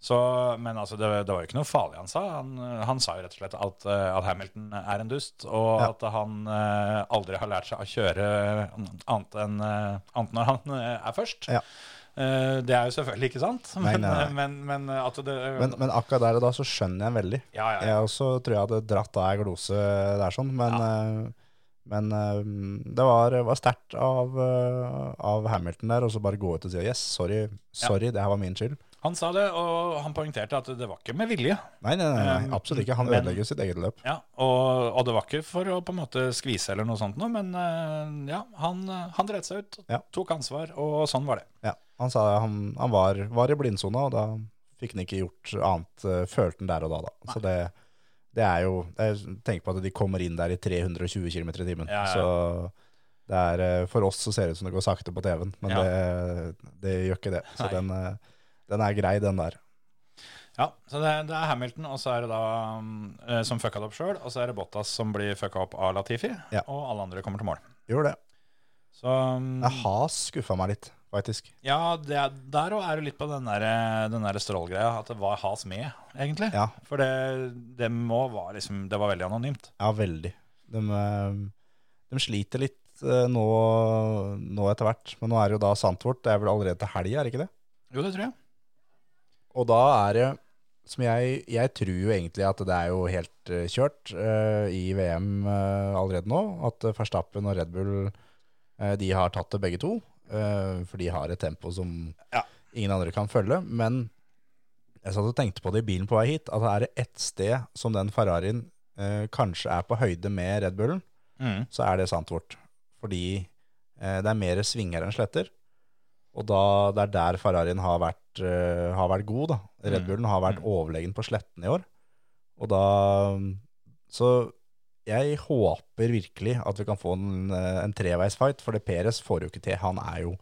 Speaker 3: Så, men altså, det, det var jo ikke noe farlig han sa. Han, eh, han sa jo rett og slett at, eh, at Hamilton er en dust, og
Speaker 4: Ja.
Speaker 3: at han eh, aldri har lært seg å kjøre annet enn eh, annet når han eh, er først.
Speaker 4: Ja.
Speaker 3: Eh, det er jo selvfølgelig ikke sant,
Speaker 4: Nei,
Speaker 3: men, eh,
Speaker 4: nei, nei.
Speaker 3: men, men at det
Speaker 4: Men, men akkurat der og da så skjønner jeg veldig.
Speaker 3: ja, ja, ja.
Speaker 4: Jeg også tror jeg hadde dratt av ei glose der sånn, men, eh, men eh, det var, var sterkt av, eh, av Hamilton der, og så bare gå ut og si yes, sorry, sorry, det her var min skyld.
Speaker 3: Han sa det, og han poengterte at det var ikke med vilje.
Speaker 4: Nei, nei, nei, nei absolutt ikke. Han
Speaker 3: Men-
Speaker 4: ødelegger sitt eget løp.
Speaker 3: Ja, og, og det var ikke for å på en måte skvise eller noe sånt, noe, men eh, ja, han, eh, han dreit seg ut,
Speaker 4: Ja.
Speaker 3: tok ansvar, og sånn var det.
Speaker 4: Ja, han sa han, han var, var i blindsona, og da fikk han ikke gjort annet, eh, følte han der og da. da. Så det, det er jo jeg Tenk på at de kommer inn der i 320 km i timen.
Speaker 3: Ja, ja, ja.
Speaker 4: Så det er, eh, for oss så ser det ut som det går sakte på TV-en, men
Speaker 3: Ja.
Speaker 4: det, det gjør ikke det. Så
Speaker 3: Nei.
Speaker 4: den, eh, den er grei, den der.
Speaker 3: Ja, så det, det er Hamilton, og så er det da mm, eh, som fucka det opp sjøl, og så er det Bottas som blir fucka opp av Latifi,
Speaker 4: Ja.
Speaker 3: og alle andre kommer til mål.
Speaker 4: Gjør det.
Speaker 3: Så mm,
Speaker 4: Jeg har skuffa meg litt, faktisk.
Speaker 3: ja, det, er- der òg er du litt på den der, eh, den der strålgreia, at det var has med, egentlig.
Speaker 4: Ja,
Speaker 3: For det, det må var liksom Det var veldig anonymt.
Speaker 4: Ja, veldig. De, eh, de sliter litt eh, nå, nå etter hvert. Men nå er det jo da Sandtvort. Det er vel allerede til helga, er det ikke det?
Speaker 3: Jo, det tror jeg.
Speaker 4: Og da er det som jeg, jeg tror jo egentlig at det er jo helt eh, kjørt eh, i VM eh, allerede nå. At eh, Verstappen og Red Bull eh, de har tatt det begge to. eh, for de har et tempo som
Speaker 3: Ja.
Speaker 4: ingen andre kan følge. Men jeg satt og tenkte på det i bilen på vei hit, at er det ett sted som den Ferrarien eh, kanskje er på høyde med Red Bullen,
Speaker 3: Mm.
Speaker 4: så er det sant vårt. Fordi eh, det er mer svinger enn sletter. Og da, det er der Ferrarien har vært, eh, har vært god. da. Red
Speaker 3: Mm.
Speaker 4: Bullen har vært
Speaker 3: Mm.
Speaker 4: overlegen på slettene i år. Og da Så jeg håper virkelig at vi kan få en, eh, en treveisfight, for det Peres får jo ikke til. Han er jo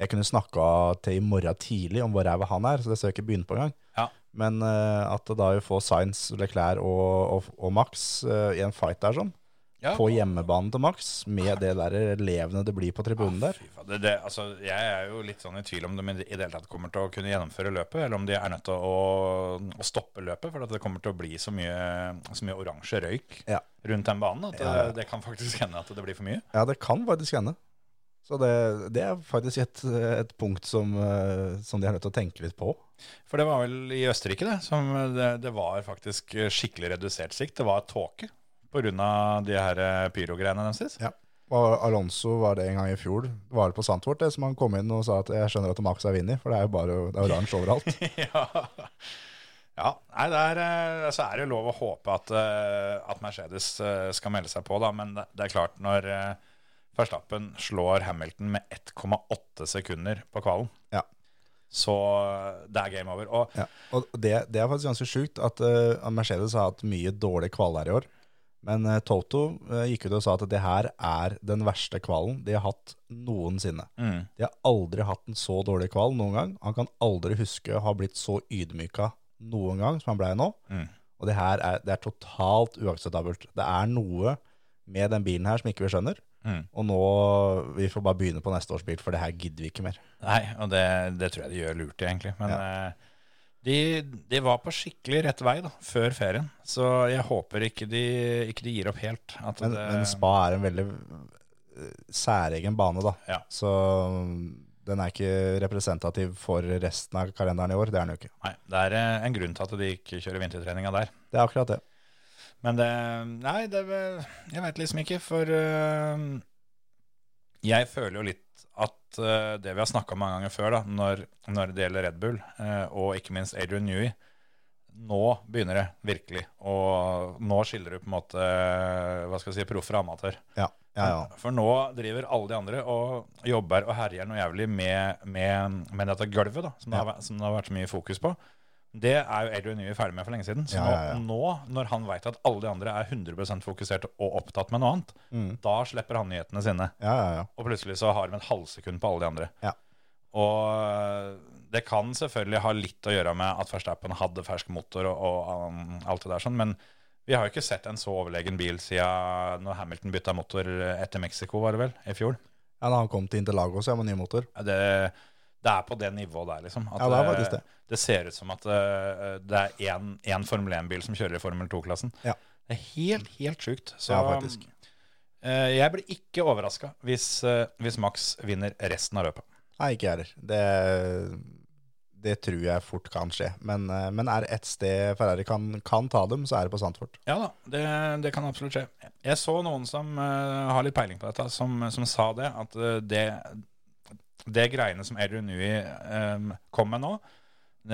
Speaker 4: Jeg kunne snakka til i morgen tidlig om hvor ræva han er, så det skal jeg ikke begynne på engang.
Speaker 3: Ja.
Speaker 4: Men eh, at det da jo får Sainz, Leclerc og, og, og Max eh, i en fight der sånn,
Speaker 3: Ja.
Speaker 4: på hjemmebanen til Max, med det der levende det blir på tribunen der.
Speaker 3: Ah, Fy faen, Det, det, altså, jeg er jo litt sånn i tvil om de i det hele tatt kommer til å kunne gjennomføre løpet, eller om de er nødt til å, å stoppe løpet, for at det kommer til å bli så mye, så mye oransje røyk
Speaker 4: Ja.
Speaker 3: rundt den banen at
Speaker 4: Ja, ja.
Speaker 3: det, det kan faktisk hende at det blir for mye.
Speaker 4: Ja, det kan faktisk hende. Så det, det er faktisk et, et punkt som, eh, som de er nødt til å tenke litt på.
Speaker 3: For det var vel i Østerrike, det. Som det, det var faktisk skikkelig redusert sikt. Det var tåke pga. de her eh, pyrogreiene deres.
Speaker 4: Ja. Og Alonso var det en gang i fjor. Det var på Sandfort det som han kom inn og sa at jeg skjønner at Max har vunnet, for det er jo bare det er oransje overalt.
Speaker 3: ja. ja. Nei, det er, eh, så er det jo lov å håpe at, eh, at Mercedes eh, skal melde seg på, da. Men det, det er klart, når eh, Verstappen slår Hamilton med 1,8 sekunder på kvalen,
Speaker 4: Ja.
Speaker 3: så eh, det er game over. Og
Speaker 4: Ja. Og det, det er faktisk ganske sjukt at eh, at Mercedes har hatt mye dårlige kvaler i år. Men eh, Toto eh, gikk ut og sa at det her er den verste kvalen de har hatt noensinne.
Speaker 3: mm,
Speaker 4: De har aldri hatt en så dårlig kval noen gang. Han kan aldri huske å ha blitt så ydmyka noen gang som han blei nå.
Speaker 3: Mm.
Speaker 4: Og det her er, det er totalt uakseptabelt. Det er noe med den bilen her som ikke vi skjønner.
Speaker 3: Mm.
Speaker 4: Og nå, vi får bare begynne på neste års bil, for det her gidder vi ikke mer.
Speaker 3: Nei, og det, det tror jeg de gjør lurt i, egentlig. Men eh, de, de var på skikkelig rett vei da, før ferien, så jeg håper ikke de, ikke de gir opp helt. At
Speaker 4: Men,
Speaker 3: det,
Speaker 4: men Spa er en veldig eh, særegen bane, da.
Speaker 3: Ja.
Speaker 4: Så mm, den er ikke representativ for resten av kalenderen i år. Det er den jo ikke.
Speaker 3: nei, det er eh, en grunn til at de ikke kjører vintertreninga der.
Speaker 4: Det er akkurat det.
Speaker 3: Men det Nei, det er vel- Jeg veit liksom ikke, for eh, jeg føler jo litt at eh, det vi har snakka om mange ganger før, da, når, når det gjelder Red Bull, eh, og ikke minst Adrian Newey Nå begynner det virkelig. Og nå skiller du på en måte eh, Hva skal jeg si, proff fra amatør.
Speaker 4: Ja, ja, ja.
Speaker 3: For nå driver alle de andre og jobber og herjer noe jævlig med, med, med dette gulvet, da, som, det har, vært- som det har vært så mye fokus på. Det er jo Adrian Newey ferdig med for lenge siden. Så
Speaker 4: Ja,
Speaker 3: nå,
Speaker 4: ja, ja.
Speaker 3: nå, når han veit at alle de andre er 100 fokusert og opptatt med noe annet,
Speaker 4: Mm.
Speaker 3: da slipper han nyhetene sine.
Speaker 4: ja, ja, ja.
Speaker 3: Og plutselig så har de et halvsekund på alle de andre.
Speaker 4: Ja.
Speaker 3: Og det kan selvfølgelig ha litt å gjøre med at Verstappen hadde fersk motor og, og um, alt det der sånn, men vi har jo ikke sett en så overlegen bil siden når Hamilton bytta motor etter Mexico, var det vel, i fjor.
Speaker 4: Ja, da han kom til Interlago, så jeg med ny motor.
Speaker 3: Det, det er på det nivået der, liksom. At
Speaker 4: Ja, det er faktisk det.
Speaker 3: det ser ut som at eh, det er én, én Formel 1-bil som kjører i Formel 2-klassen.
Speaker 4: Ja.
Speaker 3: Det er helt, helt sjukt. Så
Speaker 4: Ja, faktisk.
Speaker 3: eh, jeg blir ikke overraska hvis, eh, hvis Max vinner resten av løpet.
Speaker 4: Nei, ikke jeg heller. Det, det tror jeg fort kan skje. Men, eh, men er det ett sted Ferrari kan, kan ta dem, så er det på Sandford.
Speaker 3: Ja da, det, det kan absolutt skje. Jeg så noen som eh, har litt peiling på dette, som, som sa det. At eh, det, det greiene som Adrian Newey eh, kom med nå,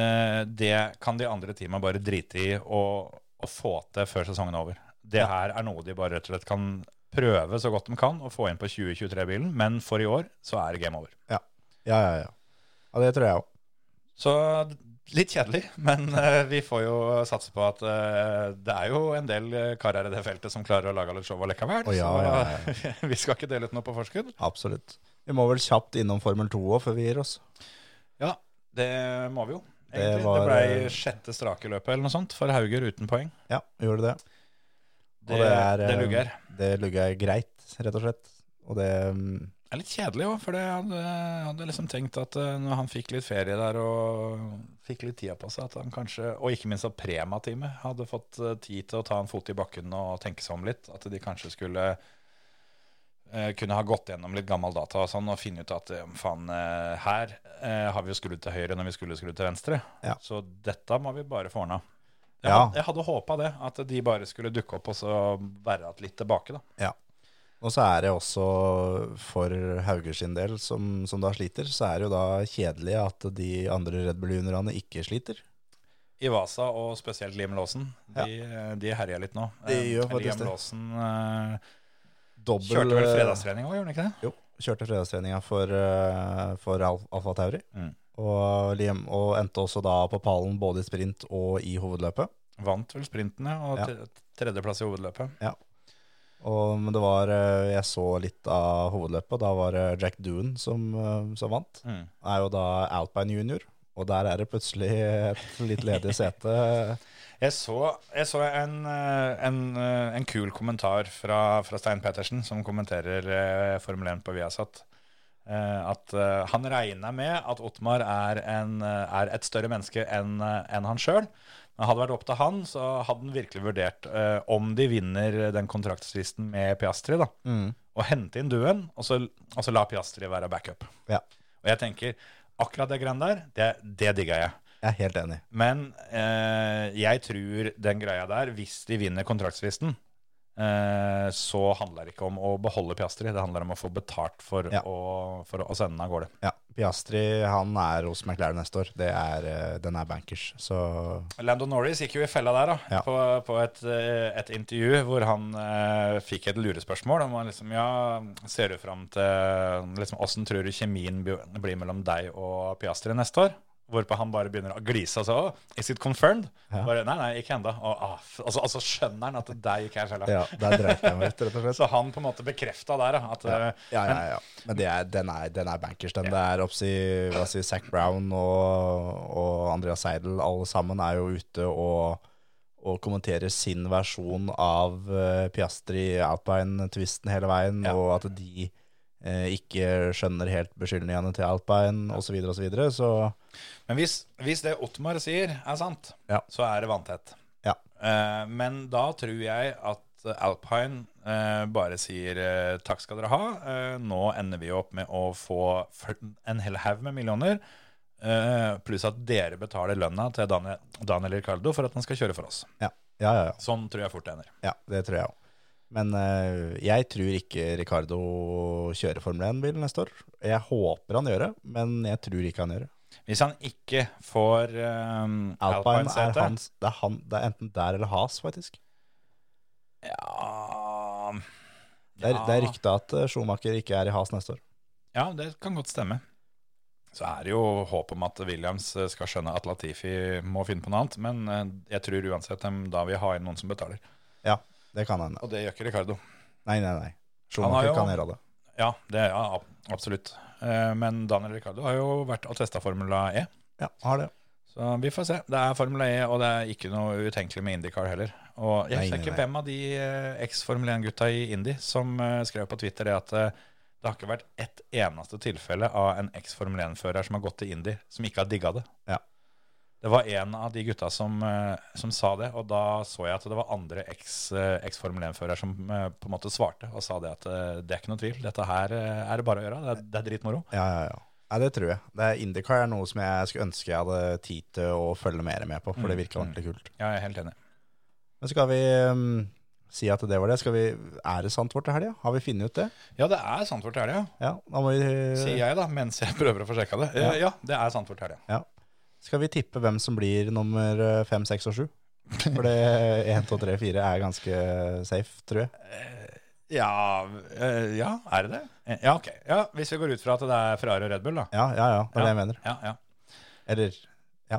Speaker 3: eh, det kan de andre teama bare drite i og, og få til før sesongen er over. Det her er noe de bare rett og slett kan prøve så godt de kan og få inn på 2023-bilen, men for i år så er det game over.
Speaker 4: Ja, ja, ja. ja. ja det tror jeg òg.
Speaker 3: Så litt kjedelig, men eh, vi får jo satse på at eh, det er jo en del eh, karer i det feltet som klarer å lage litt show allikevel.
Speaker 4: Å, ja,
Speaker 3: så vi skal ikke dele ut noe på forskudd.
Speaker 4: Absolutt. Vi må vel kjapt innom Formel 2 òg, før vi gir oss.
Speaker 3: Ja, det må vi jo. Egentlig.
Speaker 4: Det
Speaker 3: Det,
Speaker 4: var, eh,
Speaker 3: blei sjette strake løpet eller noe sånt for Hauger uten poeng.
Speaker 4: Ja, vi gjorde det.
Speaker 3: Det,
Speaker 4: Og
Speaker 3: det,
Speaker 4: er, eh,
Speaker 3: lugger.
Speaker 4: Det lugger greit, rett og slett. Og det mm,
Speaker 3: Det er litt kjedelig òg, for det hadde, hadde liksom tenkt at eh, når han fikk litt ferie der og fikk litt tida på seg, at han kanskje, og ikke minst at Prema-teamet hadde fått eh, tid til å ta en fot i bakken og tenke seg om litt, at de kanskje skulle eh, kunne ha gått gjennom litt gammel data og sånn, og finne ut at eh, faen, eh, her eh, har vi jo skrudd til høyre når vi skulle skrudd til venstre.
Speaker 4: Ja.
Speaker 3: Så dette må vi bare få ordna. Jeg,
Speaker 4: Ja.
Speaker 3: had- jeg hadde håpa det, at de bare skulle dukke opp og så være att litt tilbake, da.
Speaker 4: Ja. Og så er det også for Hauger sin del, som, som da sliter, så er det jo da kjedelig at de andre Red Bull juniorene ikke sliter.
Speaker 3: Ivasa og spesielt Liam Lawson, de, de herja litt nå.
Speaker 4: De
Speaker 3: Eh,
Speaker 4: gjør faktisk
Speaker 3: Liam
Speaker 4: det.
Speaker 3: Lawson eh,
Speaker 4: Dobbel- eh,
Speaker 3: kjørte vel fredagstrening òg, gjorde han ikke det?
Speaker 4: Jo, kjørte fredagstreninga for, eh, for Al Alfa Tauri.
Speaker 3: Mm.
Speaker 4: Og, Liam, og endte også da på pallen både i sprint og i hovedløpet.
Speaker 3: Vant vel sprinten, ja, og
Speaker 4: Ja.
Speaker 3: tre- tredjeplass i hovedløpet.
Speaker 4: Og, men det var eh, Jeg så litt av hovedløpet. Da var det Jack Doon som, eh, som vant.
Speaker 3: Mm.
Speaker 4: Er jo da Alpine junior. Og der er det plutselig et litt ledig sete.
Speaker 3: Jeg så, jeg så en, eh, en, eh, en kul kommentar fra, fra Stein Petersen, som kommenterer eh, Formel 1 på Viasat. eh, At eh, han regna med at Ottmar er, en, eh, er et større menneske enn eh, enn han sjøl. Men hadde det vært opp til han, så hadde han virkelig vurdert eh, om de vinner den kontraktstvisten med Piastri. da
Speaker 4: Mm.
Speaker 3: og hente inn duen, og så, og så la Piastri være backup.
Speaker 4: Ja,
Speaker 3: Og jeg tenker, akkurat det greiene der, det, det digga jeg.
Speaker 4: jeg er helt enig.
Speaker 3: Men eh, jeg tror den greia der, hvis de vinner kontraktsfristen, eh, så handler det ikke om å beholde Piastri, det handler om å få betalt for,
Speaker 4: Ja.
Speaker 3: å, for å sende den av gårde.
Speaker 4: Ja, Piastri han er hos McLaren neste år. Det er, eh, den er bankers. Så
Speaker 3: Lando Norris gikk jo i fella der da,
Speaker 4: Ja.
Speaker 3: på, på et, eh, et intervju hvor han eh, fikk et lurespørsmål. Om han liksom, ja, ser du fram til liksom, Åssen tror du kjemien bli- blir mellom deg og Piastri neste år? Hvorpå han bare begynner å glise og så «Åh, Is it confirmed? Bare, nei, nei, ikke ennå. Ah, f- altså, altså skjønner han at det gikk her selv. da.
Speaker 4: ja, der dreit jeg meg ut, rett og slett.
Speaker 3: Så han på en måte bekrefta der da, at eh,
Speaker 4: Ja, ja, ja. Men det er, den, er, den er bankers, den. Det er oppsi, hva sier Zac Brown og, og Andreas Seidel, alle sammen er jo ute og, og kommenterer sin versjon av eh, Piastri Alpine-tvisten hele veien,
Speaker 3: Ja.
Speaker 4: og at de eh, ikke skjønner helt beskyldningene til Alpine, osv., osv. Så, videre, så
Speaker 3: eh, Men hvis, hvis det Ottmar sier er sant,
Speaker 4: Ja.
Speaker 3: så er det vanntett.
Speaker 4: Ja.
Speaker 3: Eh, men da tror jeg at Alpine eh, bare sier eh, takk skal dere ha. Eh, nå ender vi opp med å få fl- en hel haug med millioner. eh, pluss at dere betaler lønna til Daniel, Daniel Ricardo for at han skal kjøre for oss.
Speaker 4: ja. Ja, ja, ja.
Speaker 3: Sånn tror jeg fort det ender.
Speaker 4: Ja, det tror jeg òg. Men eh, jeg tror ikke Ricardo kjører Formel 1-bil neste år. Jeg håper han gjør det, men jeg tror ikke han gjør det.
Speaker 3: Hvis han ikke får eh,
Speaker 4: Alpine er
Speaker 3: Alpine-sete
Speaker 4: hans det er, han, det er enten der eller Has, faktisk.
Speaker 3: ja,
Speaker 4: Det er,
Speaker 3: Ja.
Speaker 4: det er ryktet at eh, Schumacher ikke er i Has neste år.
Speaker 3: Ja, det kan godt stemme. Så er det jo håp om at Williams eh, skal skjønne at Latifi må finne på noe annet, men eh, jeg tror uansett de da vil ha inn noen som betaler.
Speaker 4: Ja, det kan han.
Speaker 3: Og det gjør ikke Ricardo.
Speaker 4: Nei, nei, nei.
Speaker 3: har
Speaker 4: Schumacher
Speaker 3: jo-
Speaker 4: kan gjøre det.
Speaker 3: Ja, det ja, ab- absolutt. Eh, Men Daniel Ricardo har jo vært og testa Formula E,
Speaker 4: Ja, har det.
Speaker 3: så vi får se. Det er Formula E, og det er ikke noe utenkelig med Indycar heller. Og jeg
Speaker 4: Nei,
Speaker 3: husker
Speaker 4: nei,
Speaker 3: ikke
Speaker 4: nei.
Speaker 3: hvem av de eh, eks-Formel 1-gutta i Indy som eh, skrev på Twitter det at eh, det har ikke vært ett eneste tilfelle av en eks-Formel 1-fører som har gått til Indy, som ikke har digga det.
Speaker 4: Ja.
Speaker 3: Det var en av de gutta som, eh, som sa det, og da så jeg at det var andre eks-Formel 1-fører som eh, på en måte svarte og sa det at eh, det er ikke noe tvil, dette her eh, er det bare å gjøre, det er, det er dritmoro.
Speaker 4: Ja, ja, ja. Nei, det tror jeg. Det er Indycar er noe som jeg skulle ønske jeg hadde tid til å følge mer med på, for
Speaker 3: Mm,
Speaker 4: det virker ordentlig kult.
Speaker 3: Ja, jeg er helt enig.
Speaker 4: Men skal vi mm, si at det var det? Skal vi, er det sant vårt til helga? Har vi funnet ut det?
Speaker 3: Ja, det er sant for helga,
Speaker 4: Ja, da må vi
Speaker 3: sier jeg da, mens jeg prøver å få sjekka det. Eh, Ja, det er sant for helga.
Speaker 4: Ja. Skal vi tippe hvem som blir nummer eh, fem, seks og sju? For det 1, 2, 3, 4 er ganske safe, tror jeg.
Speaker 3: Ja, eh, ja, er det det? Eh, Ja, ok. Ja, hvis vi går ut fra at det er Ferrari og Red Bull, da.
Speaker 4: Ja, ja, ja, det er det jeg mener.
Speaker 3: Ja, ja.
Speaker 4: Eller ja.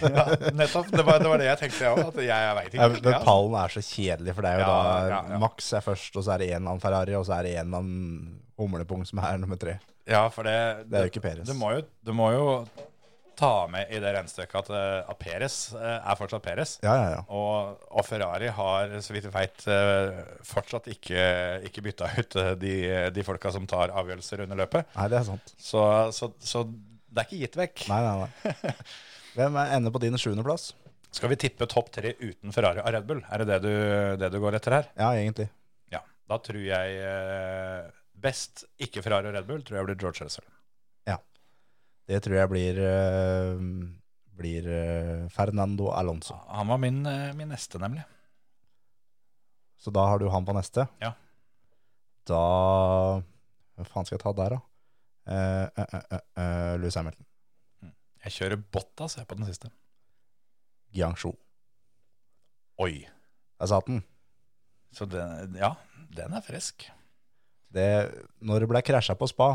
Speaker 3: ja nettopp. Det var, det var det jeg tenkte, jeg òg. At jeg, jeg veit
Speaker 4: Ja,
Speaker 3: ikke.
Speaker 4: Men pallen er så kjedelig, for det er jo
Speaker 3: altså. Ja,
Speaker 4: da
Speaker 3: ja, ja.
Speaker 4: Max er først, og så er det en eller annen Ferrari, og så er det en eller annen humlepung som er nummer tre.
Speaker 3: Ja, for det
Speaker 4: Det er jo ikke Perez.
Speaker 3: Du må jo, du må jo ta med i det regnestykket at, eh, at Perez eh, er fortsatt Perez.
Speaker 4: Ja, ja, ja.
Speaker 3: Og, og Ferrari har, så vidt jeg veit, fortsatt ikke, ikke bytta ut eh, de, de folka som tar avgjørelser under løpet.
Speaker 4: Nei, det er sant.
Speaker 3: Så, så, så det er ikke gitt vekk.
Speaker 4: Nei, nei, nei. Hvem er- ender på din sjuendeplass?
Speaker 3: Skal vi tippe topp tre uten Ferrari og Red Bull? Er det det du, det du går etter her?
Speaker 4: Ja, egentlig.
Speaker 3: Ja. Da tror jeg eh, best ikke Ferrari og Red Bull, tror jeg blir George Russell.
Speaker 4: Det tror jeg blir, eh, blir eh, Fernando Alonso.
Speaker 3: Han var min, eh, min neste, nemlig.
Speaker 4: Så da har du han på neste.
Speaker 3: Ja.
Speaker 4: Da Hva faen skal jeg ta der, da? Eh, eh, eh, eh, eh, Louis Hamilton.
Speaker 3: Jeg kjører Bottas jeg, på den siste.
Speaker 4: Guillangsjo.
Speaker 3: Oi.
Speaker 4: Jeg sa den.
Speaker 3: Så den, ja, den er frisk.
Speaker 4: Det, når det ble krasja på spa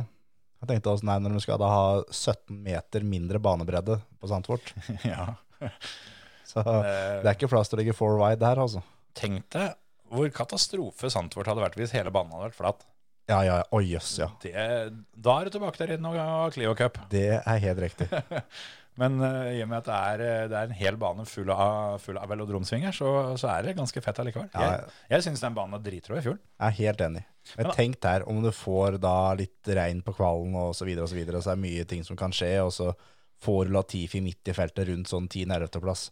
Speaker 4: Jeg tenkte også, nei, når de skal da ha 17 meter mindre banebredde på Sandfort
Speaker 3: ja.
Speaker 4: Så det er ikke plass til å ligge four wide der, altså.
Speaker 3: Eh, Tenk deg hvor katastrofe Sandtvort hadde vært hvis hele banen hadde vært flat.
Speaker 4: Ja, ja, ja. Oi, jøss, ja.
Speaker 3: Det, da er du tilbake til Renn og og Clio Cup.
Speaker 4: Det er helt riktig.
Speaker 3: Men eh, i og med at det er, eh, det er en hel bane full av, full av velodromsvinger, så, så er det ganske fett allikevel.
Speaker 4: Ja, ja.
Speaker 3: jeg jeg syns den banen er dritrå i fjor.
Speaker 4: Jeg er helt enig. Men
Speaker 3: Men-
Speaker 4: tenk der, om du får da litt regn på kvalen og så videre og så videre, så er det mye ting som kan skje, og så får du Latifi midt i feltet rundt sånn 10-11. plass.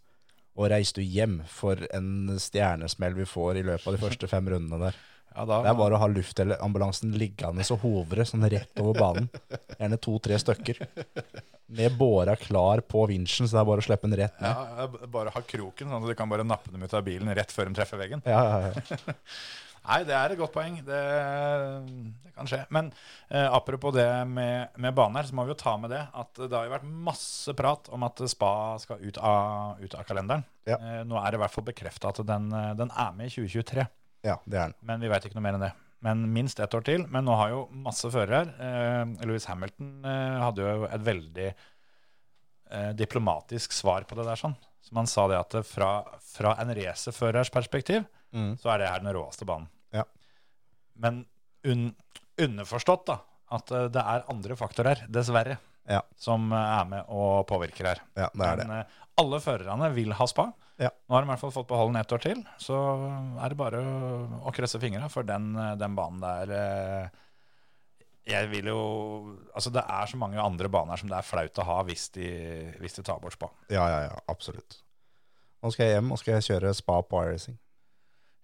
Speaker 4: Og reiser du hjem for en stjernesmell vi får i løpet av de første fem rundene der.
Speaker 3: Ja, da,
Speaker 4: Det er bare å ha luftambulansen liggende og hovre sånn rett over banen. Gjerne to-tre stykker. med båra klar på vinsjen, så det er bare å slippe den rett ned.
Speaker 3: Ja, b- bare ha kroken, sånn at du kan bare nappe dem ut av bilen rett før de treffer veggen.
Speaker 4: Ja, ja, ja.
Speaker 3: Nei, det er et godt poeng. Det, det kan skje. Men eh, apropos det med, med bane her, så må vi jo ta med det at det har jo vært masse prat om at spa skal ut av, ut av kalenderen.
Speaker 4: Ja.
Speaker 3: Eh, nå er det i hvert fall bekrefta at den, eh, den er med i 2023.
Speaker 4: ja det er den.
Speaker 3: Men vi veit ikke noe mer enn det. Men minst ett år til. Men nå har jo masse førere her. Eh, Louis Hamilton eh, hadde jo et veldig eh, diplomatisk svar på det der. sånn. Som han sa det at det fra, fra en racerførers perspektiv,
Speaker 4: Mm.
Speaker 3: så er det her den råeste banen.
Speaker 4: Ja.
Speaker 3: Men un, underforstått da, at eh, det er andre faktorer, dessverre,
Speaker 4: Ja.
Speaker 3: som eh, er med og påvirker her.
Speaker 4: Ja, det er det.
Speaker 3: Men eh, alle førerne vil ha spa.
Speaker 4: Ja.
Speaker 3: Nå har de i hvert fall fått beholde den ett år til. Så er det bare å, å krysse fingra for den, eh, den banen der. eh, Jeg vil jo Altså, det er så mange andre baner som det er flaut å ha hvis de, hvis de tar bort spa.
Speaker 4: Ja, ja, ja, absolutt. Nå skal jeg hjem og skal jeg kjøre spa på iRacing.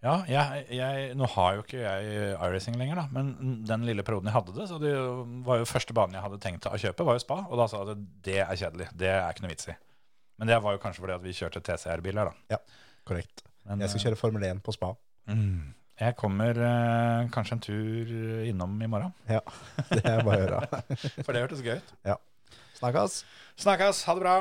Speaker 3: Ja, jeg, jeg, nå har jo ikke jeg iRacing lenger, da, men den lille perioden jeg hadde det, så det jo- var jo første banen jeg hadde tenkt å kjøpe, var jo spa. Og da sa jeg at det er kjedelig, det er ikke noe vits i. Men det var jo kanskje fordi at vi kjørte TCR-biler, da.
Speaker 4: Korrekt.
Speaker 3: Men,
Speaker 4: Jeg skal kjøre Formel 1 på spa.
Speaker 3: eh, mm, jeg kommer eh, kanskje en tur innom i morgen,
Speaker 4: Ja, det er bare å gjøre.
Speaker 3: for det hørtes gøy ut.
Speaker 4: Snakkes!
Speaker 3: Snakkes, ha det bra!